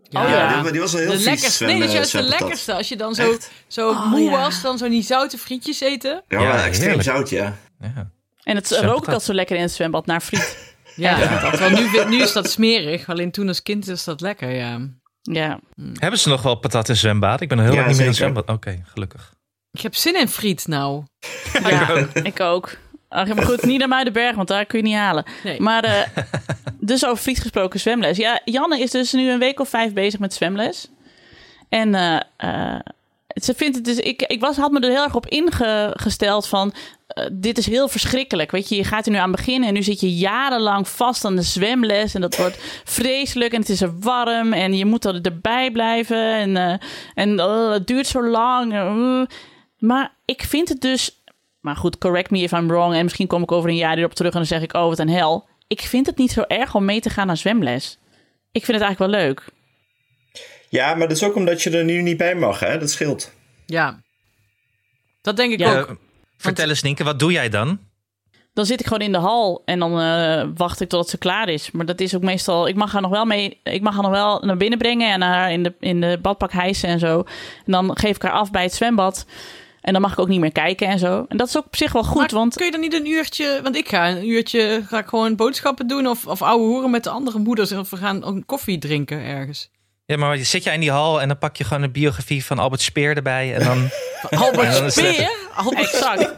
Oh
Ja.
ja, die, die was wel heel
De
vies.
lekkerste. Nee,
zwem-
dat is juist de
zwempatat.
lekkerste. Als je dan zo,
Echt?
zo
Oh,
moe
ja.
was, dan zo die zoute frietjes eten.
Ja,
Ja,
maar extreem
heerlijk.
zout, ja.
Ja.
En het
Zwembad.
rook ik altijd zo lekker in het zwembad naar friet.
Ja, Dat, want nu, nu is dat smerig. Alleen toen als kind is dat lekker, ja.
ja.
Hebben ze nog wel patat in zwembad? Ik ben heel
Ja,
lang niet meer in
zeker.
zwembad. Oké, gelukkig.
Ik heb zin in friet nou.
Ja, ik ook. Ach, maar goed, niet naar Muidenberg, want daar kun je niet halen.
Nee.
Maar eh, dus over friet gesproken zwemles. Ja, Janne is dus nu een week of vijf bezig met zwemles. En eh, eh, ze vindt het dus... Ik, ik was, had me er heel erg op ingesteld van... eh, dit is heel verschrikkelijk. Weet je, je gaat er nu aan beginnen en nu zit je jarenlang vast aan de zwemles. En dat wordt vreselijk en het is er warm en je moet er, erbij blijven. En, eh, en eh, het duurt zo lang. eh, eh. Maar ik vind het dus maar goed, correct me if I'm wrong. En misschien kom ik over een jaar hierop terug en dan zeg ik, oh, wat een hel. Ik vind het niet zo erg om mee te gaan naar zwemles. Ik vind het eigenlijk wel leuk.
Ja, maar dat is ook omdat je er nu niet bij mag, hè. Dat scheelt.
Ja. Dat denk ik
Ja.
ook.
Eh, vertel eens, Nienke, wat doe jij dan?
Dan zit ik gewoon in de hal en dan eh, wacht ik totdat ze klaar is. Maar dat is ook meestal. Ik mag haar nog wel mee. Ik mag haar nog wel naar binnen brengen en haar in de, in de badpak hijsen en zo. En dan geef ik haar af bij het zwembad. En dan mag ik ook niet meer kijken en zo. En dat is ook op zich wel goed.
Maar
want
kun je dan niet een uurtje... Want ik ga een uurtje ga ik gewoon boodschappen doen... of, of ouwe hoeren met de andere moeders... of we gaan ook koffie drinken ergens.
Ja, maar zit jij in die hal en dan pak je gewoon een biografie van Albert Speer erbij.
[laughs]
En dan, Ja, dat
Albert
is
Speer? Albert
exact.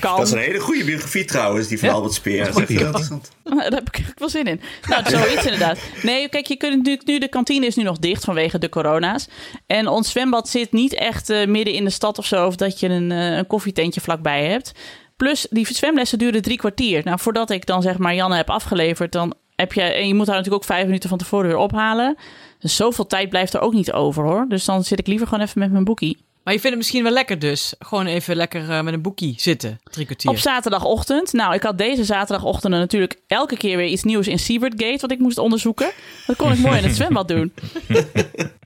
Kalm.
Dat is een hele goede biografie trouwens, die van
Ja,
Albert Speer. Dat is echt
biografie.
heel interessant.
[laughs] Daar heb ik eigenlijk wel zin in. Nou, zoiets inderdaad. Nee, kijk, je kunt nu, nu, de kantine is nu nog dicht vanwege de corona's. En ons zwembad zit niet echt eh, midden in de stad of zo. Of dat je een, eh, een koffietentje vlakbij hebt. Plus, die zwemlessen duren drie kwartier. Nou, voordat ik dan zeg maar Janne heb afgeleverd, dan heb je. En je moet haar natuurlijk ook vijf minuten van tevoren weer ophalen. Dus zoveel tijd blijft er ook niet over hoor. Dus dan zit ik liever gewoon even met mijn boekie.
Maar je vindt het misschien wel lekker dus. Gewoon even lekker eh, met een boekie zitten. Drie kwartier.
Op zaterdagochtend. Nou, ik had deze zaterdagochtend natuurlijk elke keer weer iets nieuws in Seawardgate wat ik moest onderzoeken. Dat kon ik
[laughs]
mooi in het zwembad doen.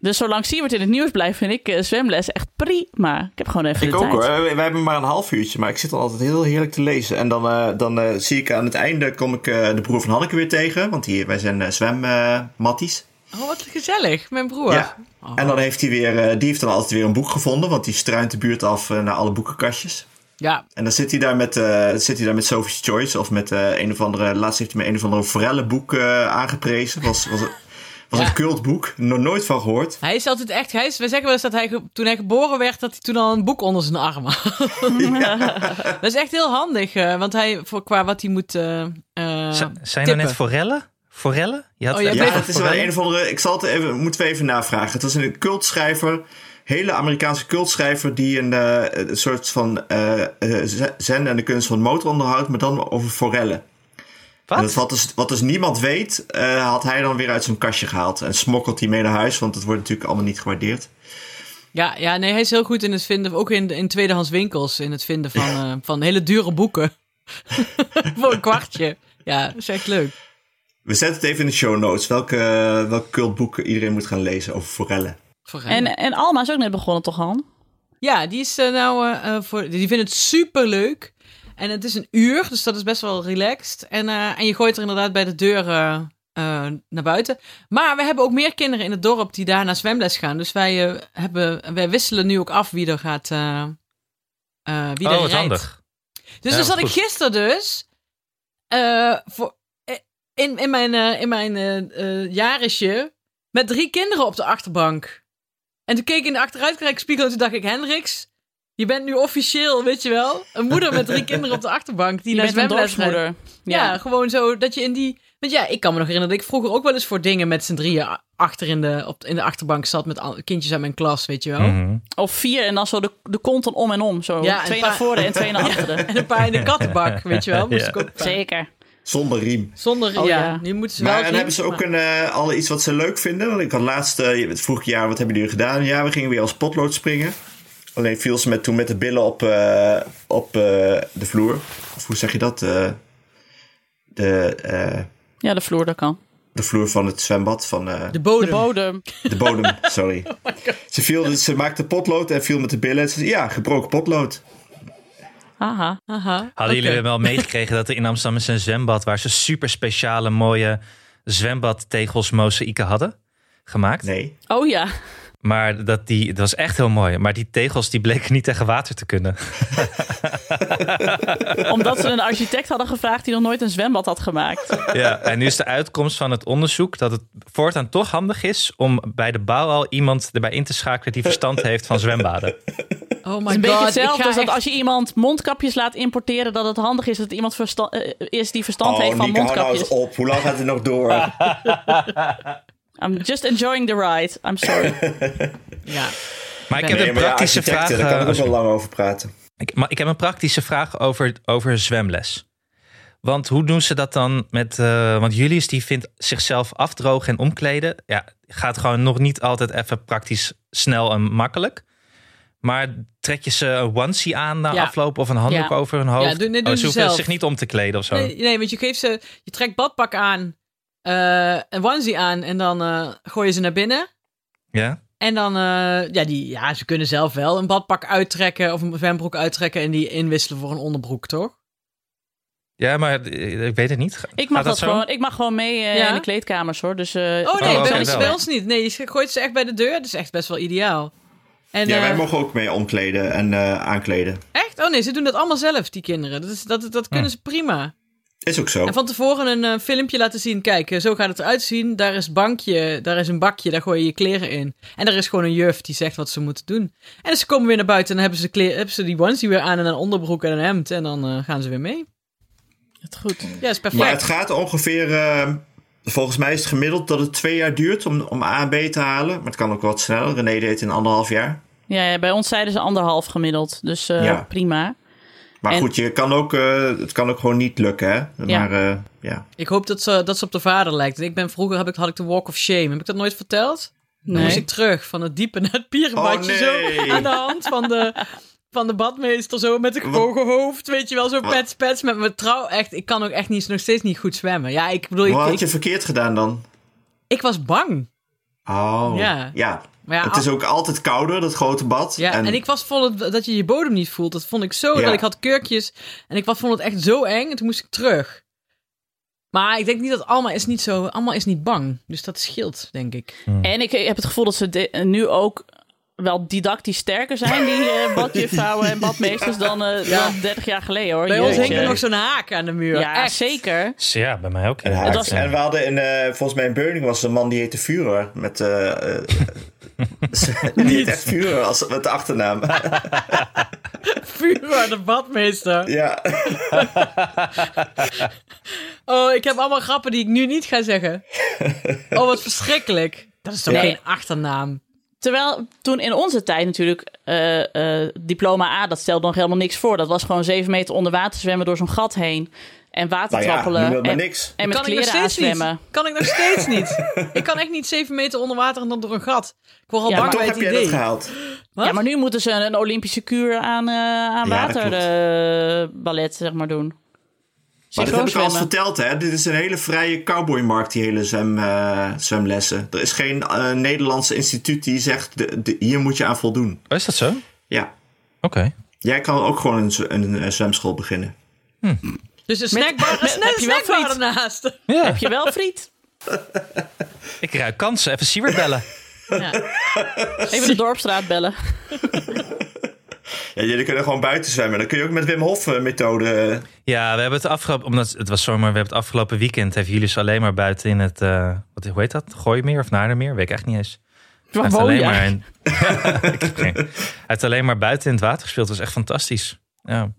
dus zolang Seaward in het nieuws blijft, vind ik eh, zwemles echt prima. Ik heb gewoon even
Ik
de
ook
tijd.
hoor. Wij, wij hebben maar een half uurtje, maar ik zit al altijd heel heerlijk te lezen. En dan, eh, dan eh, zie ik aan het einde, kom ik eh, de broer van Hanneke weer tegen. Want hier, wij zijn eh, zwemmatties.
Oh, wat gezellig. Mijn broer.
ja.
Oh.
En dan heeft hij weer, eh, die heeft dan altijd weer een boek gevonden. Want die struint de buurt af eh, naar alle boekenkastjes.
Ja.
En dan zit hij daar met, eh, zit hij daar met Sophie's Choice of met eh, een of andere. Laatst heeft hij me een of andere forellenboek eh aangeprezen. Was, was, een- was
Ja.
een cultboek. Nog nooit van gehoord.
Hij is altijd echt... Hij is, wij zeggen wel eens dat hij ge- toen hij geboren werd... dat hij toen al een boek onder zijn arm had. [laughs] Dat is echt heel handig. eh, want hij, voor, qua wat hij moet... eh, eh,
Z- zijn er
tippen.
net forellen? Forelle? Je had
Oh, jij
ja,
bleef
Ja,
op
het is wel een of andere. Ik zal het even, moeten we even navragen. Het was een cultschrijver, hele Amerikaanse cultschrijver, die een, eh, een soort van eh eh, z- zen en de kunst van motoronderhoud, maar dan over forellen.
Wat?
En dat wat, dus, wat dus niemand weet, eh, had hij dan weer uit zijn kastje gehaald en smokkelt hij mee naar huis, want het wordt natuurlijk allemaal niet gewaardeerd.
Ja, ja, nee, hij is heel goed in het vinden, ook in, in tweedehands winkels, in het vinden van, eh, van hele dure boeken. [laughs] Voor een kwartje. Ja, dat is echt leuk.
We zetten het even in de show notes, welke, welke cultboeken iedereen moet gaan lezen over forellen.
Voor hem.
En, en Alma is ook net begonnen, toch, Han?
Ja, die is eh, nou eh, eh, voor. Die vindt het super leuk. En het is een uur, dus dat is best wel relaxed. En, eh, en je gooit er inderdaad bij de deur eh, eh, naar buiten. Maar we hebben ook meer kinderen in het dorp die daar naar zwemles gaan. Dus wij, eh, hebben, wij wisselen nu ook af wie er gaat. eh, eh, wie
oh,
er
wat
rijdt.
handig.
Dus
Ja,
dan
wat
zat ik
goed.
gisteren dus. eh, voor, eh, in, in mijn, eh, in mijn eh, eh, jarisje. Met drie kinderen op de achterbank. En toen keek ik in de achteruitkijkspiegel en toen dacht ik: Hendricks, je bent nu officieel, weet je wel, een moeder met drie kinderen op de achterbank. Die
Je
naar
bent een
zwemles rijdt.
dorpsmoeder.
Ja, gewoon zo dat je in die. Want ja, ik kan me nog herinneren dat ik vroeger ook wel eens voor dingen met z'n drieën a- achter in de, op, in de achterbank zat. Met al- kindjes uit mijn klas, weet je wel.
Mhm.
Of vier en dan zo de, de konten om en om. Zo
Ja, en
twee
pa-
naar voren en
[laughs]
twee naar achteren.
En een paar in de kattenbak, weet je wel. Moest
Ja.
ik ook een paar-
Zeker.
Zonder riem.
Zonder,
Oh,
ja.
ja.
nu moeten ze wel.
Maar en
zien,
hebben ze ook een, eh, alle iets wat ze leuk vinden? Want ik had laatst, eh, het vroeg jaar, wat hebben jullie gedaan? Ja, we gingen weer als potlood springen. Alleen viel ze met, toen met de billen op, eh, op eh, de vloer. Of hoe zeg je dat? Eh, de, eh,
Ja, de vloer, dat kan.
de vloer van het zwembad, van eh,
De bodem.
De bodem.
de bodem, sorry. ze, viel, dus ze maakte potlood en viel met de billen. En ze zei, ja, gebroken potlood.
Haha.
Aha.
Hadden
Oké.
jullie wel meegekregen dat er in Amsterdam is een zwembad waar ze super speciale mooie zwembadtegels mozaïeken hadden gemaakt?
Nee.
[laughs]
Oh ja.
Maar dat, die, dat was echt heel mooi. Maar die tegels die bleken niet tegen water te kunnen.
Omdat ze een architect hadden gevraagd die nog nooit een zwembad had gemaakt.
Ja, en nu is de uitkomst van het onderzoek dat het voortaan toch handig is om bij de bouw al iemand erbij in te schakelen die verstand heeft van zwembaden.
Oh my
Het is een
god.
beetje
ik
hetzelfde
ga
als dat
echt-
als je iemand mondkapjes laat importeren, dat het handig is dat het iemand versta- eh, is die verstand heeft
Oh,
van
Nico, hou nou eens
mondkapjes.
op. Hoe lang gaat het nog door?
I'm just enjoying the ride. I'm
[laughs]
sorry.
Ja.
Maar ik heb
Nee,
een
maar ja,
praktische vraag.
architecten, Daar kan
eh,
ik ook
als-
wel lang over praten.
ik, maar ik heb een praktische vraag over, over zwemles. Want hoe doen ze dat dan met. eh, want Julius die vindt zichzelf afdrogen en omkleden. Ja, gaat gewoon nog niet altijd even praktisch snel en makkelijk. Maar trek je ze een onesie aan na
Ja.
afloop of een handdoek
Ja.
over hun hoofd?
Ja, doe- nee,
Oh,
doen
ze
ze
hoeven
zelf.
zich niet om te kleden of zo.
Nee, nee, want je geeft ze. Je trekt badpak aan. eh, een onesie aan. En dan eh gooi je ze naar binnen.
Ja?
En dan. eh, ja, die, ja, ze kunnen zelf wel een badpak uittrekken. Of een zwembroek uittrekken. En die inwisselen voor een onderbroek, toch?
ja, maar eh, ik weet het niet. Ga-
Ik mag,
gaat
dat
zo?
gewoon, ik mag gewoon mee eh,
Ja?
in de kleedkamers hoor. Dus, eh,
Oh nee,
oké,
bij, ons,
wel.
bij ons niet. Nee, je gooit ze echt bij de deur. Dat is echt best wel ideaal. En,
Ja, wij
eh,
mogen ook mee omkleden en eh, aankleden.
Echt? Oh nee, ze doen dat allemaal zelf, die kinderen. Dat, is, dat, dat
Hm.
kunnen ze prima.
Is ook zo.
En van tevoren een eh, filmpje laten zien. Kijk, eh, zo gaat het eruit zien. Daar is bankje, daar is een bakje, daar gooi je je kleren in. En er is gewoon een juf die zegt wat ze moeten doen. En dus ze komen weer naar buiten en dan hebben ze, de kle- hebben ze die onesie weer aan en een onderbroek en een hemd. En dan eh, gaan ze weer mee.
het goed.
Ja, is perfect.
Maar het gaat ongeveer, eh, volgens mij is het gemiddeld dat het twee jaar duurt om, om A en B te halen. Maar het kan ook wat sneller. René deed het in anderhalf jaar.
Ja, ja, bij ons zeiden ze anderhalf gemiddeld. Dus eh,
Ja.
prima.
Maar
En-
goed, je kan ook, eh, het kan ook gewoon niet lukken. Hè?
Ja.
Maar eh, ja.
Ik hoop dat ze, dat ze op de vader lijkt. Ik ben vroeger heb ik, had ik de walk of shame. Heb ik dat nooit verteld? Dan moest ik terug van het diepe naar het pierenbadje.
Oh, nee.
Zo aan de hand van de, van de badmeester. Zo met een gebogen hoofd. Weet je wel, zo
Wat?
pets pets met mijn trouw. Echt, ik kan ook echt niet, nog steeds niet goed zwemmen. Ja, ik bedoel, ik,
Wat
ik-
had je verkeerd gedaan dan?
Ik was bang.
Oh,
Ja.
ja.
Maar ja,
het is
al-
ook altijd kouder, dat grote bad.
ja, en, ik was vol het- dat je je bodem niet voelt. Dat vond ik zo.
Ja.
Dat ik had kurkjes. En ik was, vond het echt zo eng. En toen moest ik terug. Maar ik denk niet dat Alma is niet zo. Alma is niet bang. Dus dat scheelt, denk ik.
En ik heb het gevoel dat ze de- nu ook wel didactisch sterker zijn, die eh badjuffrouwen en badmeesters, dan, eh,
Ja.
dan 30 jaar geleden hoor.
Bij ons
Jeetje.
hing er nog zo'n haak aan de muur.
Ja,
echt.
zeker.
Ja, bij mij ook.
En, haakt.
Het was-
en we hadden in, eh, volgens mij in Beuning was er een man die heette Führer. Met, eh, eh, [laughs] die heette echt Führer als, met de achternaam.
Fugo, de badmeester.
Ja.
Oh, ik heb allemaal grappen die ik nu niet ga
[laughs]
zeggen. Oh, wat verschrikkelijk. Dat is toch
Ja.
geen achternaam?
Terwijl toen in onze tijd natuurlijk eh, eh, diploma A, dat stelde nog helemaal niks voor. Dat was gewoon zeven meter onder water zwemmen door zo'n gat heen. En water
Nou ja,
trappelen.
noem dat maar
en,
niks.
en met
kan ik nog
kleren
steeds
aanzwemmen.
niet. Kan ik nog
[laughs]
steeds niet. Ik kan echt niet zeven meter onder water en dan door een gat. Ik word al
Ja,
bang
maar
bij
Toch
het
heb jij
idee.
dat gehaald.
Wat?
Ja, maar nu moeten ze een, een Olympische kuur aan, eh, aan
Ja, dat
water
klopt.
eh, ballet, zeg maar, doen.
Maar dat heb ik al eens
Synchroonzwemmen.
verteld, hè. Dit is een hele vrije cowboymarkt, die hele zwem, eh, zwemlessen. Er is geen eh, Nederlandse instituut die zegt, de, de- hier moet je aan voldoen.
Oh, is dat zo? Oké.
Ja. Jij kan ook gewoon een, z- een, eh, zwemschool beginnen.
Dus een snackbar, een
heb je wel
snackbar
friet?
ernaast. Oh,
Ja.
Heb je wel friet?
[laughs]
Ik ruik kansen. Even Siebert bellen.
Even de dorpstraat bellen.
Ja, jullie kunnen gewoon buiten zwemmen. Dan kun je ook met Wim Hof eh, methode... eh,
Ja, we hebben het afgelopen... Omdat het was zomer, we hebben het afgelopen weekend... Hebben jullie ze alleen maar buiten in het... eh, wat, hoe heet dat? Gooimeer of Naardermeer? Weet ik echt niet eens.
Waar
heeft
woon
alleen
jij?
maar in- [laughs] Ik heb geen- Hij heeft alleen maar buiten in het water gespeeld. Dat was echt fantastisch. Ja.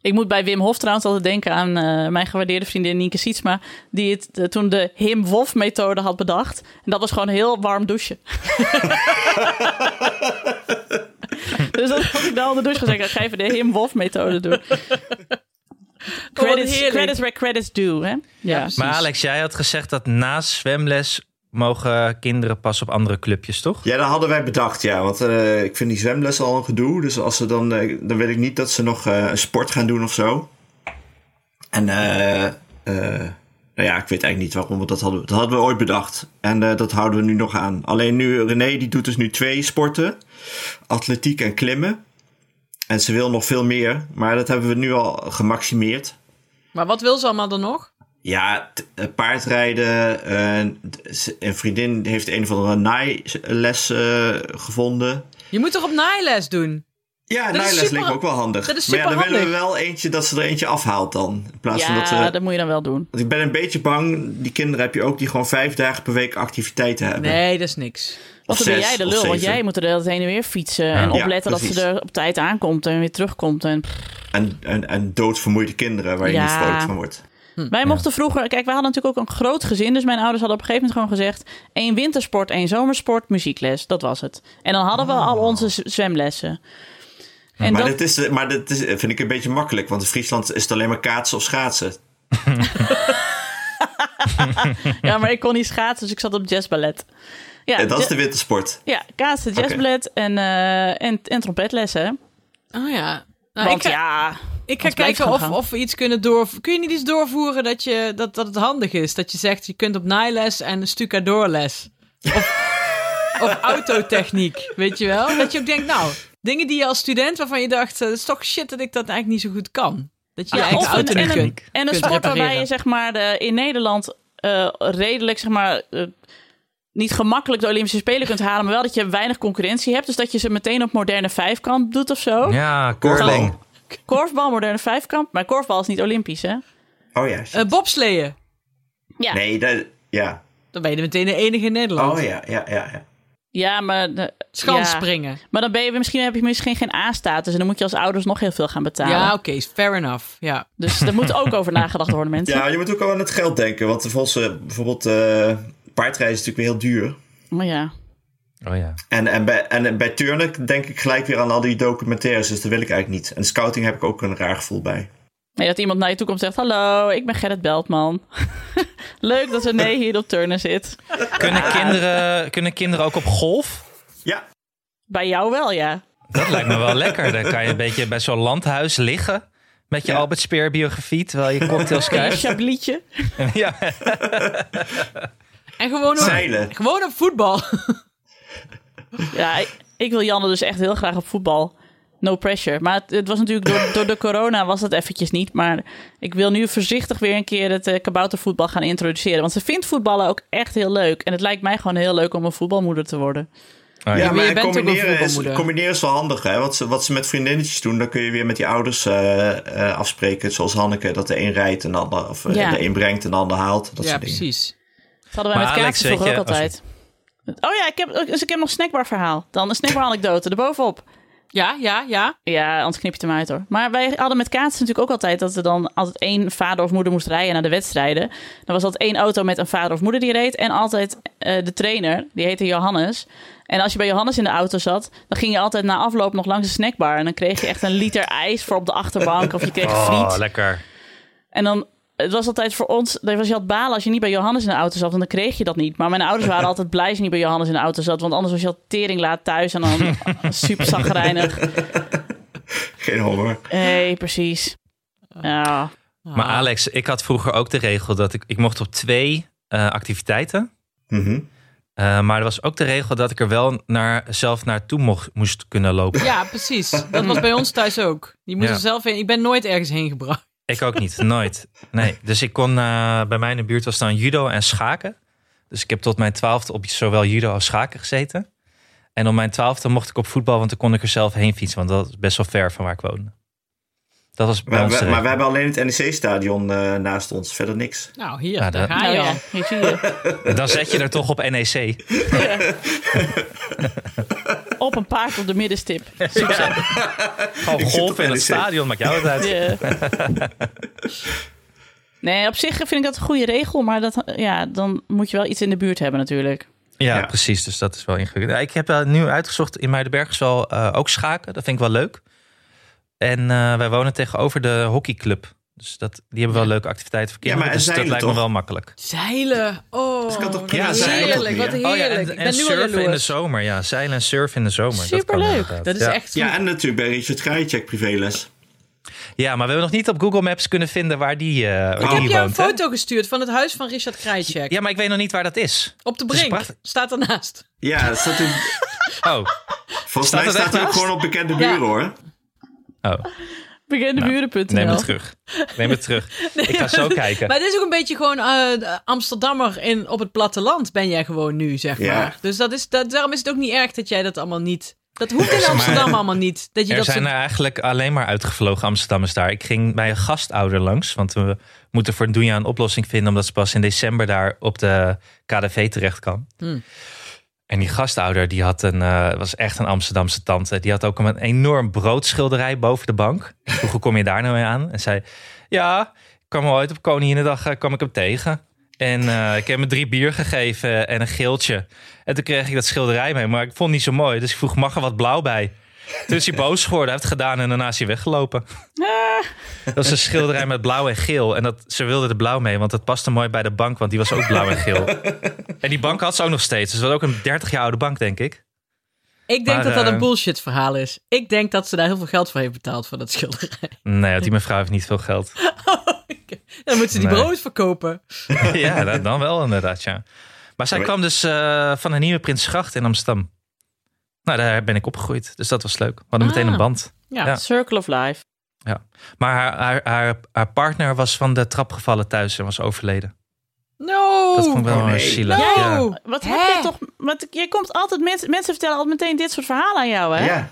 Ik moet bij Wim Hof trouwens altijd denken aan eh, mijn gewaardeerde vriendin Nienke Sietsma. Die het eh, toen de Him Wof methode had bedacht. En dat was gewoon heel warm douchen. [laughs] dus dat had ik dan onder douche gezegd. Ga even de Him Wof methode doen. Credits,
heerlijk.
credits where credits due. Hè? Ja.
Maar Alex, jij had gezegd dat na zwemles... mogen kinderen pas op andere clubjes, toch?
Ja, dat hadden wij bedacht, ja. Want eh, ik vind die zwemles al een gedoe. Dus als ze dan, eh, dan wil ik niet dat ze nog eh, een sport gaan doen of zo. En eh, eh, nou ja, ik weet eigenlijk niet waarom, want dat hadden we, dat hadden we ooit bedacht. En eh, dat houden we nu nog aan. Alleen nu, René die doet dus nu twee sporten. Atletiek en klimmen. En ze wil nog veel meer, maar dat hebben we nu al gemaximeerd.
Maar wat wil ze allemaal dan nog?
Ja, t- eh, paardrijden. eh, d- een vriendin heeft een of andere naailes eh, gevonden.
Je moet toch op naailes doen?
Ja,
Dat is
Nylas
super-
lijkt me ook wel handig.
dat is
maar ja, dan
superhandig.
willen we wel eentje dat ze er eentje afhaalt dan. In plaats van dat, eh,
Ja,
ze-
dat moet je dan wel doen.
Want ik ben een beetje bang, die kinderen heb je ook die gewoon vijf dagen per week activiteiten hebben.
Nee, dat is niks.
Wat
Of
dan ben
zes,
jij de
of
lul? Want
zeven.
jij moet er de hele tijd heen en weer fietsen. En
Ja,
opletten dat ze
precies.
er op tijd aankomt en weer terugkomt. En
En, en, en doodvermoeide kinderen waar je
Ja.
niet vrolijk van wordt.
Wij mochten vroeger, kijk, wij hadden natuurlijk ook een groot gezin. Dus mijn ouders hadden op een gegeven moment gewoon gezegd: één wintersport, één zomersport, muziekles. Dat was het. En dan hadden we al onze z- zwemlessen. En
Ah. Maar,
dat,
dat is, maar dat is, vind ik een beetje makkelijk, want in Friesland is het alleen maar kaatsen of schaatsen.
ja, maar ik kon niet schaatsen, dus ik zat op jazzballet. Ja,
En Eh, dat is
ja-
de wintersport.
ja kaatsen, jazzballet en, eh, en, en trompetlessen.
Oh ja. Nou,
Want
ik ga,
ja,
ik ga
anders blijft
kijken
het
of,
gewoon
of we iets kunnen doorvoeren. Kun je niet iets doorvoeren dat, je, dat, dat het handig is? Dat je zegt, je kunt op naailes en een stucadoorles.
[laughs]
Of, of autotechniek, weet je wel? Dat je ook denkt, nou, dingen die je als student, waarvan je dacht... eh, Het is toch shit dat ik dat eigenlijk niet zo goed kan. Dat je je
Ja,
eigen
of een-
auto niet
en een,
kunt
en een
kunt
sport waarbij
repareren.
je zeg maar de, in Nederland eh, redelijk zeg maar eh, niet gemakkelijk de Olympische Spelen kunt halen, maar wel dat je weinig concurrentie hebt, dus dat je ze meteen op moderne vijfkamp doet of zo.
Ja,
Korfbal.
curling.
Korfbal, moderne vijfkamp, maar korfbal is niet Olympisch, hè?
Oh ja. shit.
Eh, bobsleeën.
Ja,
nee, dat, ja.
Dan ben je meteen de enige in Nederland.
Oh ja, ja, ja. ja.
ja maar de- ja.
Schansspringen.
Maar dan ben je misschien heb je misschien geen A-status en dan moet je als ouders nog heel veel gaan betalen.
Ja, oké, fair enough. Ja.
Dus daar moet ook over nagedacht worden, mensen.
Ja, je moet ook al aan het geld denken, want volgens eh, bijvoorbeeld eh, paardrijden is natuurlijk weer heel duur.
Maar ja.
Oh ja.
En, en, bij, en bij turnen denk ik gelijk weer aan al die documentaires, dus dat wil ik eigenlijk niet. En scouting heb ik ook een raar gevoel bij.
Nee, dat iemand naar je toe komt en zegt: Hallo, ik ben Gerrit Beltman. [laughs] Leuk dat René hier op turnen zit.
Kunnen, kinderen, kunnen kinderen ook op golf?
Ja,
Bij jou wel, ja.
Dat lijkt me wel lekker. Dan kan je een beetje bij zo'n landhuis liggen. Met je
Ja.
Albert Speer biografie, terwijl je
[laughs]
cocktails
Een
krijgt.
chablietje.
ja.
En gewoon op,
zeilen.
gewoon op voetbal.
Ja, ik, ik wil Janne dus echt heel graag op voetbal. No pressure. Maar het, het was natuurlijk door, door de corona was dat eventjes niet. Maar ik wil nu voorzichtig weer een keer het eh, kaboutervoetbal gaan introduceren. Want ze vindt voetballen ook echt heel leuk. En het lijkt mij gewoon heel leuk om een voetbalmoeder te worden.
Ja,
Ja,
maar
maar
je bent ook een
combineren, is,
voetbalmoeder.
combineren is wel handig, hè? Want ze, wat ze met vriendinnetjes doen, dan kun je weer met die ouders eh, eh, afspreken. Zoals Hanneke, dat de een rijdt en de ander, of eh,
Ja.
de een brengt en de ander haalt. Dat
ja,
soort dingen.
precies.
Dat hadden wij
Maar
met
Alex,
kaarten vroeger ook
weet je-
altijd. Oh ja, ik heb, dus ik heb nog snackbar verhaal. Dan een snackbar anekdote erbovenop.
Ja, ja, ja.
Ja, anders knip je het hem uit hoor. Maar wij hadden met kaatsen natuurlijk ook altijd dat er dan altijd één vader of moeder moest rijden naar de wedstrijden. Dan was dat één auto met een vader of moeder die reed. En altijd eh, de trainer, die heette Johannes. En als je bij Johannes in de auto zat, dan ging je altijd na afloop nog langs de snackbar. En dan kreeg je echt een liter ijs voor op de achterbank. Of je kreeg
Oh,
friet.
lekker.
En dan, het was altijd voor ons, dat was je had balen als je niet bij Johannes in de auto zat, want dan kreeg je dat niet. Maar mijn ouders waren altijd blij als je niet bij Johannes in de auto zat, want anders was je al tering laat thuis en dan [laughs] super zagrijnig.
Geen honger.
Hé, hey, precies. Ja,
Maar Alex, ik had vroeger ook de regel dat ik, ik mocht op twee eh, activiteiten.
Mhm.
Eh, maar er was ook de regel dat ik er wel naar, zelf naartoe mocht, moest kunnen lopen.
Ja, precies. Dat was bij ons thuis ook. Je moest
Ja.
er zelf heen. Ik ben nooit ergens heen gebracht.
Ik ook niet, nooit. Nee, dus ik kon, eh, bij mij in de buurt was dan judo en schaken. Dus ik heb tot mijn twaalfde op zowel judo als schaken gezeten. En op mijn twaalfde mocht ik op voetbal, want dan kon ik er zelf heen fietsen. Want dat is best wel ver van waar ik woonde. Dat was bij
Maar,
ons
we,
de
maar we
regel.
hebben alleen het NEC-stadion eh, naast ons. Verder niks.
Nou, hier,
Ja,
daar
dat-
ga
nou
je
ja,
al.
hier zie je.
Dan zet je er toch op E NEC.
Op een paard op de middenstip.
[laughs] Gewoon
zit op
golven in het
NEC.
stadion, maakt jou [laughs] het uit.
Ja. Nee, op zich vind ik dat een goede regel, maar dat, ja, dan moet je wel iets in de buurt hebben natuurlijk.
Ja,
Ja.
precies. Dus dat is wel ingewikkeld. Ja, Ik heb eh, nu uitgezocht in Muidenberg is wel eh, ook schaken. Dat vind ik wel leuk. En eh, wij wonen tegenover de hockeyclub. Dus dat, die hebben wel leuke activiteiten voor
Ja,
kinderen.
maar en
dus dat
zeilen
lijkt me
toch?
wel makkelijk.
Zeilen. Oh,
Dus
Dat kan toch
wat
prima
Oh Ja, zeilen
heerlijk.
toch
Wat
weer?
heerlijk.
en,
ik
en
ben nu al
surfen in de
jaloers.
zomer. Ja, zeilen en surfen in de zomer. dat kan
Superleuk. Dat,
inderdaad.
is
ja.
echt
Ja,
goed.
en natuurlijk bij Richard Krajicek privéles.
Ja, maar we hebben nog niet op Google Maps kunnen vinden waar die, eh waar
Ik
Ik
die
heb jou een
woont. hè?
foto gestuurd van het huis van Richard Krajcek.
Ja, maar ik weet nog niet waar dat is.
Op de
Dat is
brink.
prachtig.
Staat ernaast.
Ja, dat staat in,
Oh,
volgens
Staat
mij
dat
staat
echt
hij ook
naast?
gewoon op bekende buren hoor.
oh.
Bekende
neem het terug. Neem
[laughs]
het terug. Ik ga zo kijken.
Maar het is ook een beetje gewoon eh, de Amsterdammer in, op het platteland ben jij gewoon nu, zeg
Ja.
maar. Dus dat is, dat, daarom is het ook niet erg dat jij dat allemaal niet... Dat hoeft in Amsterdam allemaal niet. Dat je
Er
dat
zijn
soort-
er eigenlijk alleen maar uitgevlogen Amsterdammers daar. Ik ging bij een gastouder langs, want we moeten voor Doenja een oplossing vinden, omdat ze pas in december daar op de KDV terecht kan.
Hmm.
En die gastouder, die had een, eh, was echt een Amsterdamse tante. Die had ook een enorm broodschilderij boven de bank. Ik vroeg, hoe kom je daar nou mee aan? En zei, ja, ik kwam al ooit op Koninginnedag, eh, kwam ik hem tegen. En eh, ik heb me drie bier gegeven en een geeltje. En toen kreeg ik dat schilderij mee, maar ik vond het niet zo mooi. Dus ik vroeg, mag er wat blauw bij? Toen is Dus hij boos geworden, hij heeft het gedaan en daarna is hij weggelopen. Dat was een schilderij met blauw en geel. En dat, ze wilde er blauw mee, want dat paste mooi bij de bank, want die was ook blauw en geel. En die bank had ze ook nog steeds. Dus dat was ook een 30 jaar oude bank, denk ik.
Ik denk
Maar,
dat dat
eh,
een bullshit verhaal is. Ik denk dat ze daar heel veel geld voor heeft betaald voor dat schilderij. [laughs]
Nee, want die mevrouw heeft niet veel geld.
Dan moeten ze die
Nee.
brood verkopen.
ja, dat- dan wel inderdaad, ja. Maar zij
Maar-
kwam dus eh, van een nieuwe Prinsgracht in Amsterdam. Nou, daar ben ik opgegroeid. Dus dat was leuk. We hadden meteen
Ah.
een band.
Ja.
Ja.
Circle of Life.
Maar haar, haar, haar, haar partner was van de trap gevallen thuis en was overleden.
No!
Dat vond ik wel
Oh, nee.
zielig.
No!
Ja.
Wat
Hè?
heb je toch... Wat, jij komt altijd mensen, mensen vertellen altijd meteen dit soort verhalen aan jou, hè?
Ja.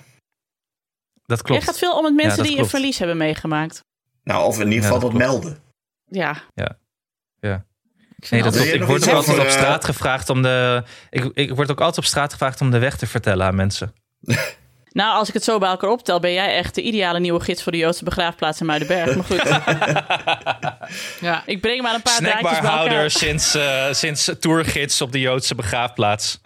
dat
Jij
klopt.
gaat veel om met mensen
Ja, dat
die
klopt.
een verlies hebben meegemaakt.
Nou, of in ieder
Ja,
geval
dat
dat,
klopt.
melden.
Ja.
Ik
Nee,
vind
dat
altijd-
klopt.
Wil je
Ik
nog
word
iets
ook altijd
over,
op
eh,
straat gevraagd om de. Ik, ik word ook altijd op straat gevraagd om de weg te vertellen aan mensen.
Nou, als ik het zo bij elkaar optel, ben jij echt de ideale nieuwe gids voor de Joodse begraafplaats in Muidenberg. Maar goed,
ja.
ik breng maar een paar draadjes bij
Snackbarhouder
elkaar.
sinds, eh sinds tourgids op de Joodse begraafplaats.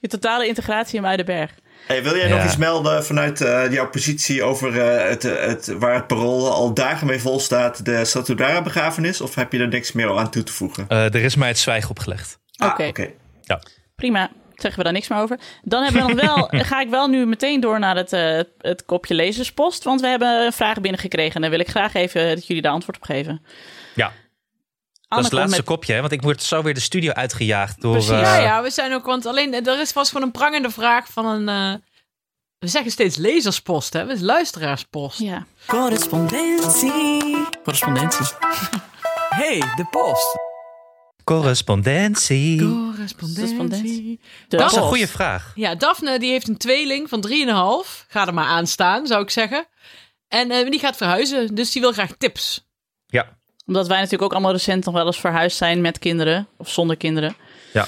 Je totale integratie in Muidenberg.
Hey, wil jij
Ja.
nog iets melden vanuit eh, jouw positie over eh, het, het, waar het parool al dagen mee vol staat, de Satudara begrafenis? Of heb je er niks meer aan toe te voegen?
Eh, er is mij het zwijgen opgelegd.
Ah,
Oké.
Ja.
Prima, zeggen we daar niks meer over. Dan hebben we nog
[laughs]
wel, ga ik wel nu meteen door naar het, eh, het kopje lezerspost. Want we hebben een vraag binnengekregen en daar wil ik graag even dat jullie daar antwoord op geven.
Ja, dat is
Anne
het
komt
laatste
met-
kopje, hè? Want ik word zo weer de studio uitgejaagd door.
Precies.
eh,
ja, ja, we zijn ook, want alleen er is, was gewoon een prangende vraag van een. eh, we zeggen steeds lezerspost, hè? Het is luisteraarspost.
Ja.
Correspondentie. Correspondentie. hey, de post.
Correspondentie.
Correspondentie.
De
Dat is een
post.
goede vraag.
Ja, Daphne die heeft een tweeling van 3,5. Ga er maar aan staan, zou ik zeggen. En eh, die gaat verhuizen, dus die wil graag tips.
Ja,
Omdat wij natuurlijk ook allemaal recent nog wel eens verhuisd zijn met kinderen of zonder kinderen.
ja.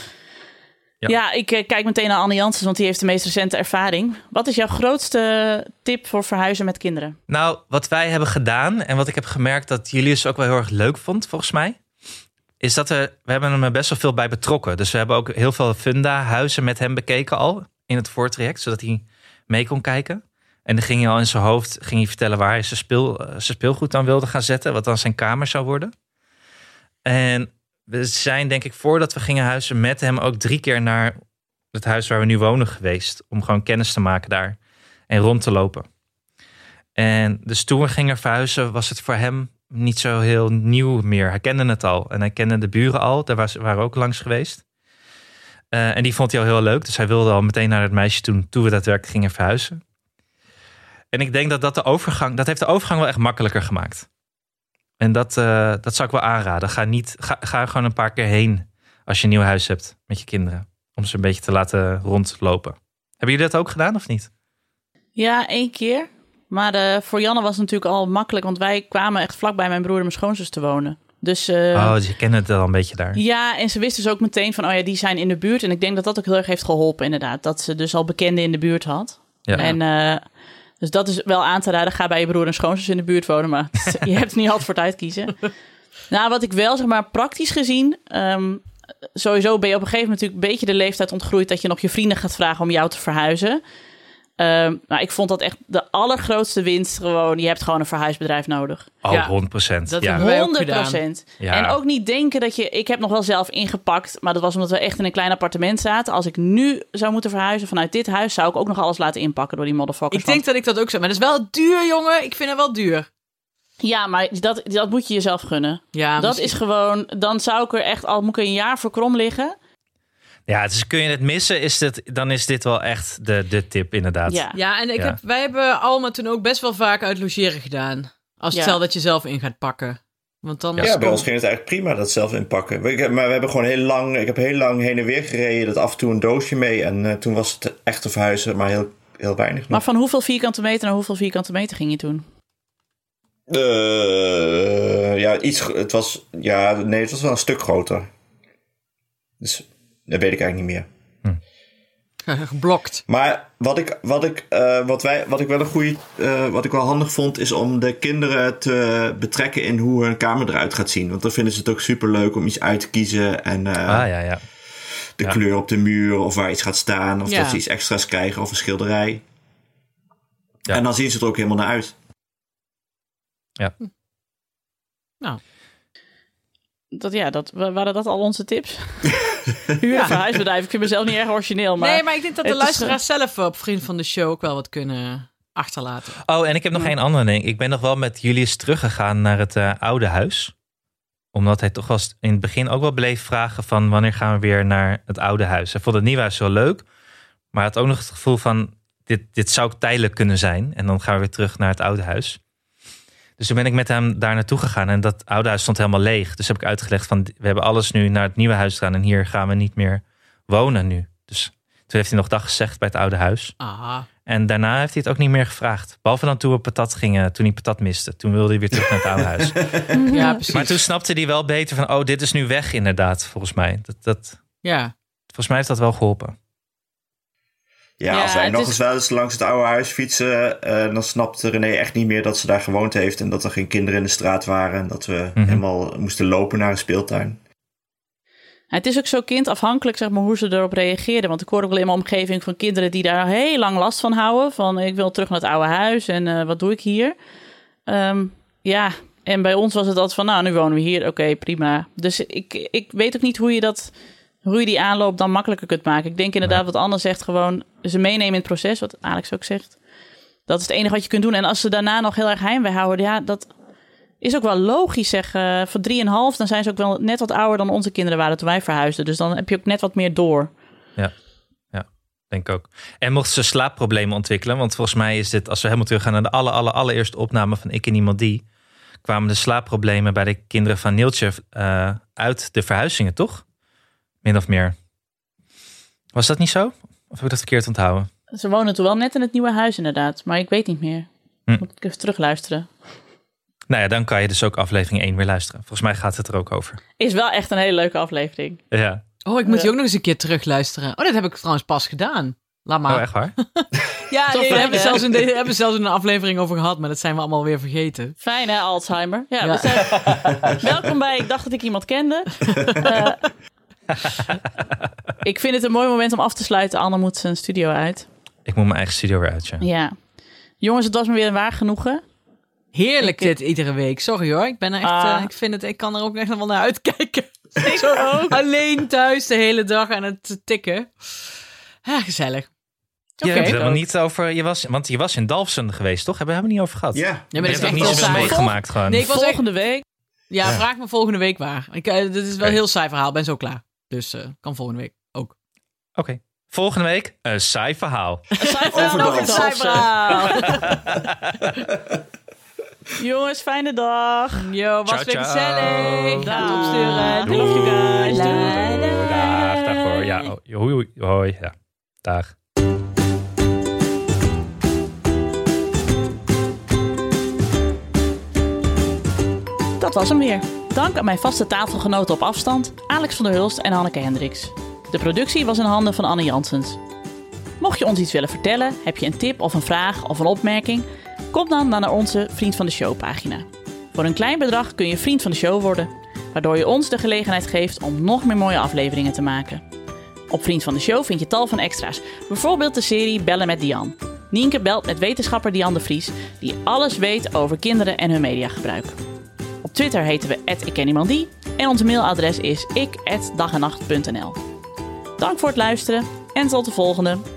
Ja, ik eh, kijk meteen naar Anne Janssens, want die heeft de meest recente ervaring. Wat is jouw grootste tip voor verhuizen met kinderen?
Nou, wat wij hebben gedaan en wat ik heb gemerkt dat Julius ook wel heel erg leuk vond, volgens mij, is dat er, we hebben hem er best wel veel bij betrokken. Dus we hebben ook heel veel funda huizen met hem bekeken al in het voortraject, zodat hij mee kon kijken. En dan ging hij al in zijn hoofd ging hij vertellen waar hij zijn, speel, eh, zijn speelgoed dan wilde gaan zetten, wat dan zijn kamer zou worden. En we zijn denk ik voordat we gingen huizen met hem ook drie keer naar het huis waar we nu wonen geweest, om gewoon kennis te maken daar en rond te lopen. En dus toen we gingen verhuizen, was het voor hem niet zo heel nieuw meer. Hij kende het al en hij kende de buren al. Daar was, waren we ook langs geweest. Eh, en die vond hij al heel leuk. Dus hij wilde al meteen naar het meisje toen, toen we daadwerkelijk gingen verhuizen. En ik denk dat dat de overgang, dat heeft de overgang wel echt makkelijker gemaakt. En dat, eh, dat zou ik wel aanraden. Ga, niet, ga, ga er gewoon een paar keer heen als je een nieuw huis hebt met je kinderen. Om ze een beetje te laten rondlopen. Hebben jullie dat ook gedaan of niet?
Ja, één keer. Maar eh, voor Janne was het natuurlijk al makkelijk, want wij kwamen echt vlak bij mijn broer en mijn schoonzus te wonen. Dus eh,
oh, dus je kent het al een beetje daar.
ja, en ze wist dus ook meteen van, oh ja, die zijn in de buurt. En ik denk dat dat ook heel erg heeft geholpen, inderdaad. Dat ze dus al bekenden in de buurt had.
Ja.
En, eh, dus dat is wel aan te raden. Ga bij je broer en schoonzus in de buurt wonen. Maar [laughs] je hebt niet altijd voor het uitkiezen. nou, wat ik wel zeg maar praktisch gezien. ehm, sowieso ben je op een gegeven moment natuurlijk een beetje de leeftijd ontgroeid. dat je nog je vrienden gaat vragen om jou te verhuizen. Ehm maar ik vond dat echt de allergrootste winst. Gewoon, je hebt gewoon een verhuisbedrijf nodig.
Oh,
Ja,
100 procent.
dat
Ja.
hebben wij ook
100
gedaan.
procent.
Ja.
En ook niet denken dat je... Ik heb nog wel zelf ingepakt, maar dat was omdat we echt in een klein appartement zaten. Als ik nu zou moeten verhuizen vanuit dit huis, zou ik ook nog alles laten inpakken door die motherfuckers.
Ik denk dat ik dat ook zou. Maar dat is wel duur, jongen. Ik vind het wel duur.
Want- Ja, maar dat, dat moet je jezelf gunnen.
Ja,
dat is gewoon... Dan zou ik er echt al... Moet ik er een jaar voor krom liggen?
ja, dus kun je het missen, is dit, dan is dit wel echt de, de tip inderdaad.
Ja.
Ja, en ik
Ja.
Heb, wij hebben Alma toen ook best wel vaak uit logeren gedaan. Als
Ja.
het stel dat je zelf in gaat pakken. Want dan...
Ja, bij ons ging het eigenlijk prima dat zelf inpakken. We- ik heb- Maar we hebben gewoon heel lang, ik heb heel lang heen en weer gereden, dat af en toe een doosje mee. En eh, toen was het echte verhuizen, maar heel, heel weinig nog.
Maar van hoeveel vierkante meter naar hoeveel vierkante meter ging je toen?
Eh, ja, iets, gro- het was, ja, nee, het was wel een stuk groter. Dus dat weet ik eigenlijk niet meer.
[laughs] Geblokt.
Maar wat ik, wat ik, eh, wat wij, wat ik wel een goede, eh, wat ik wel handig vond, is om de kinderen te betrekken in hoe hun kamer eruit gaat zien. Want dan vinden ze het ook super leuk om iets uit te kiezen en eh,
Ah ja, ja.
de
ja.
kleur op de muur of waar iets gaat staan of
Ja.
dat ze iets extra's krijgen of een schilderij.
Ja.
En dan zien ze het er ook helemaal naar uit.
Dat, ja, dat, wa- waren dat al onze
[laughs]
tips? Huur een verhuisbedrijf. Ik vind mezelf niet erg origineel, maar...
nee, maar ik denk dat de
het is,
luisteraars zelf op Vriend van de Show ook wel wat kunnen achterlaten.
Oh, en ik heb nog één andere ding. Ik ben nog wel met Julius teruggegaan naar het eh, oude huis. Omdat hij toch wel st- in het begin ook wel bleef vragen van wanneer gaan we weer naar het oude huis. Hij vond het nieuwe huis wel leuk. Maar hij had ook nog het gevoel van dit, dit zou tijdelijk kunnen zijn. En dan gaan we weer terug naar het oude huis. Dus toen ben ik met hem daar naartoe gegaan. En dat oude huis stond helemaal leeg. Dus heb ik uitgelegd van we hebben alles nu naar het nieuwe huis gedaan. En hier gaan we niet meer wonen nu. Dus toen heeft hij nog dag gezegd bij het oude huis.
[laughs]
Ah,
En daarna heeft hij het ook niet meer gevraagd. Behalve dan toen we patat gingen, toen hij patat miste. Toen wilde hij weer terug naar het oude huis.
ja, precies.
Maar toen snapte hij wel beter van, oh, dit is nu weg inderdaad, volgens mij. Dat, dat,
Ja.
volgens mij heeft dat wel geholpen.
Ja,
Ja,
als wij
het
nog
is-
eens wel eens langs het oude huis fietsen, eh, dan snapt René echt niet meer dat ze daar gewoond heeft en dat er geen kinderen in de straat waren en dat we
Mhm.
helemaal moesten lopen naar een speeltuin.
Het is ook zo kindafhankelijk, zeg maar, hoe ze erop reageerden. Want ik hoor ook wel in mijn omgeving van kinderen die daar heel lang last van houden. Van ik wil terug naar het oude huis en eh, wat doe ik hier? Ehm, ja, en bij ons was het altijd van nou, nu wonen we hier. Oké, prima. Dus ik, ik weet ook niet hoe je, dat, hoe je die aanloop dan makkelijker kunt maken. Ik denk inderdaad wat Anne zegt, gewoon ze meenemen in het proces. Wat Alex ook zegt. Dat is het enige wat je kunt doen. En als ze daarna nog heel erg heimwee houden, ja, dat is ook wel logisch, zeg. eh voor 3,5 dan zijn ze ook wel net wat ouder dan onze kinderen waren toen wij verhuisden. Dus dan heb je ook net wat meer door.
Denk ik ook. En mocht ze slaapproblemen ontwikkelen, want volgens mij is dit, als we helemaal teruggaan naar de aller, aller, allereerste opname van Ik en Iemand Die, kwamen de slaapproblemen bij de kinderen van Nieltje eh, uit de verhuizingen, toch? Min of meer. Was dat niet zo? Of heb ik dat verkeerd onthouden?
Ze wonen toen wel net in het nieuwe huis, inderdaad. Maar ik weet niet meer.
Hm.
Moet ik even terugluisteren.
Nou ja, dan kan je dus ook aflevering 1 weer luisteren. Volgens mij gaat het er ook over.
Is wel echt een hele leuke aflevering.
Ja.
Oh, ik moet die ook nog eens een keer terugluisteren. Oh, dat heb ik trouwens pas gedaan. Laat maar.
Oh, echt waar?
Ja,
Toch
nee,
leuk,
daar hebben we
hè?
zelfs in de- daar hebben we zelfs in een aflevering over gehad, maar dat zijn we allemaal weer vergeten.
Fijn hè, Alzheimer. Ja,
Ja.
We zijn... [laughs] Welkom bij Ik dacht dat ik iemand
[laughs]
kende. Eh, ik vind het een mooi moment om af te sluiten. Anne moet zijn studio uit.
Ik moet mijn eigen studio weer uit, ja.
Ja. Jongens, het was me weer een waar genoegen.
Heerlijk dit iedere week. Sorry hoor, ik ben er echt.
Ah.
eh, ik vind het. Ik kan er ook echt wel naar [laughs] uitkijken. Zo alleen thuis de hele dag aan het tikken. Ah, gezellig.
Je
Oké.
hebt het helemaal niet over... Je was, want je was in Dalfsen geweest, toch? Hebben we het niet over gehad?
Ja.
Ja, maar
Je
dat is
hebt ook
echt
niet
wel
zoveel
saai.
meegemaakt gewoon.
Nee, ik was echt,
Volgende week.
ja,
Ja.
vraag me volgende week waar. Ik, eh, dit is wel
Oké.
een heel saai verhaal. Ben zo klaar. Dus eh, kan volgende week ook.
Oké. Volgende week een saai verhaal.
Zij
Overdans.
nog een
Overdans.
saai verhaal.
verhaal.
[laughs] Jongens, fijne dag. Ah,
Yo, was
Ciao,
weer
ciao.
gezellig. Ga het opsturen.
Doei.
Doei.
guys.
Doei.
Doei.
Dag, dag hoor. Ja, oh, hoi, hoi, hoi. Ja, dag.
Dat was hem weer. Dank aan mijn vaste tafelgenoten op afstand, Alex van der Hulst en Hanneke Hendricks. De productie was in handen van Anne Janssens. Mocht je ons iets willen vertellen, heb je een tip of een vraag of een opmerking, kom dan naar onze Vriend van de Show pagina. Voor een klein bedrag kun je Vriend van de Show worden, waardoor je ons de gelegenheid geeft om nog meer mooie afleveringen te maken. Op Vriend van de Show vind je tal van extra's. Bijvoorbeeld de serie Bellen met Dian. Nienke belt met wetenschapper Dian de Vries, die alles weet over kinderen en hun mediagebruik. Op Twitter heten we @ikkenniemandie en ons mailadres is ik@dagenacht.nl. Dank voor het luisteren en tot de volgende.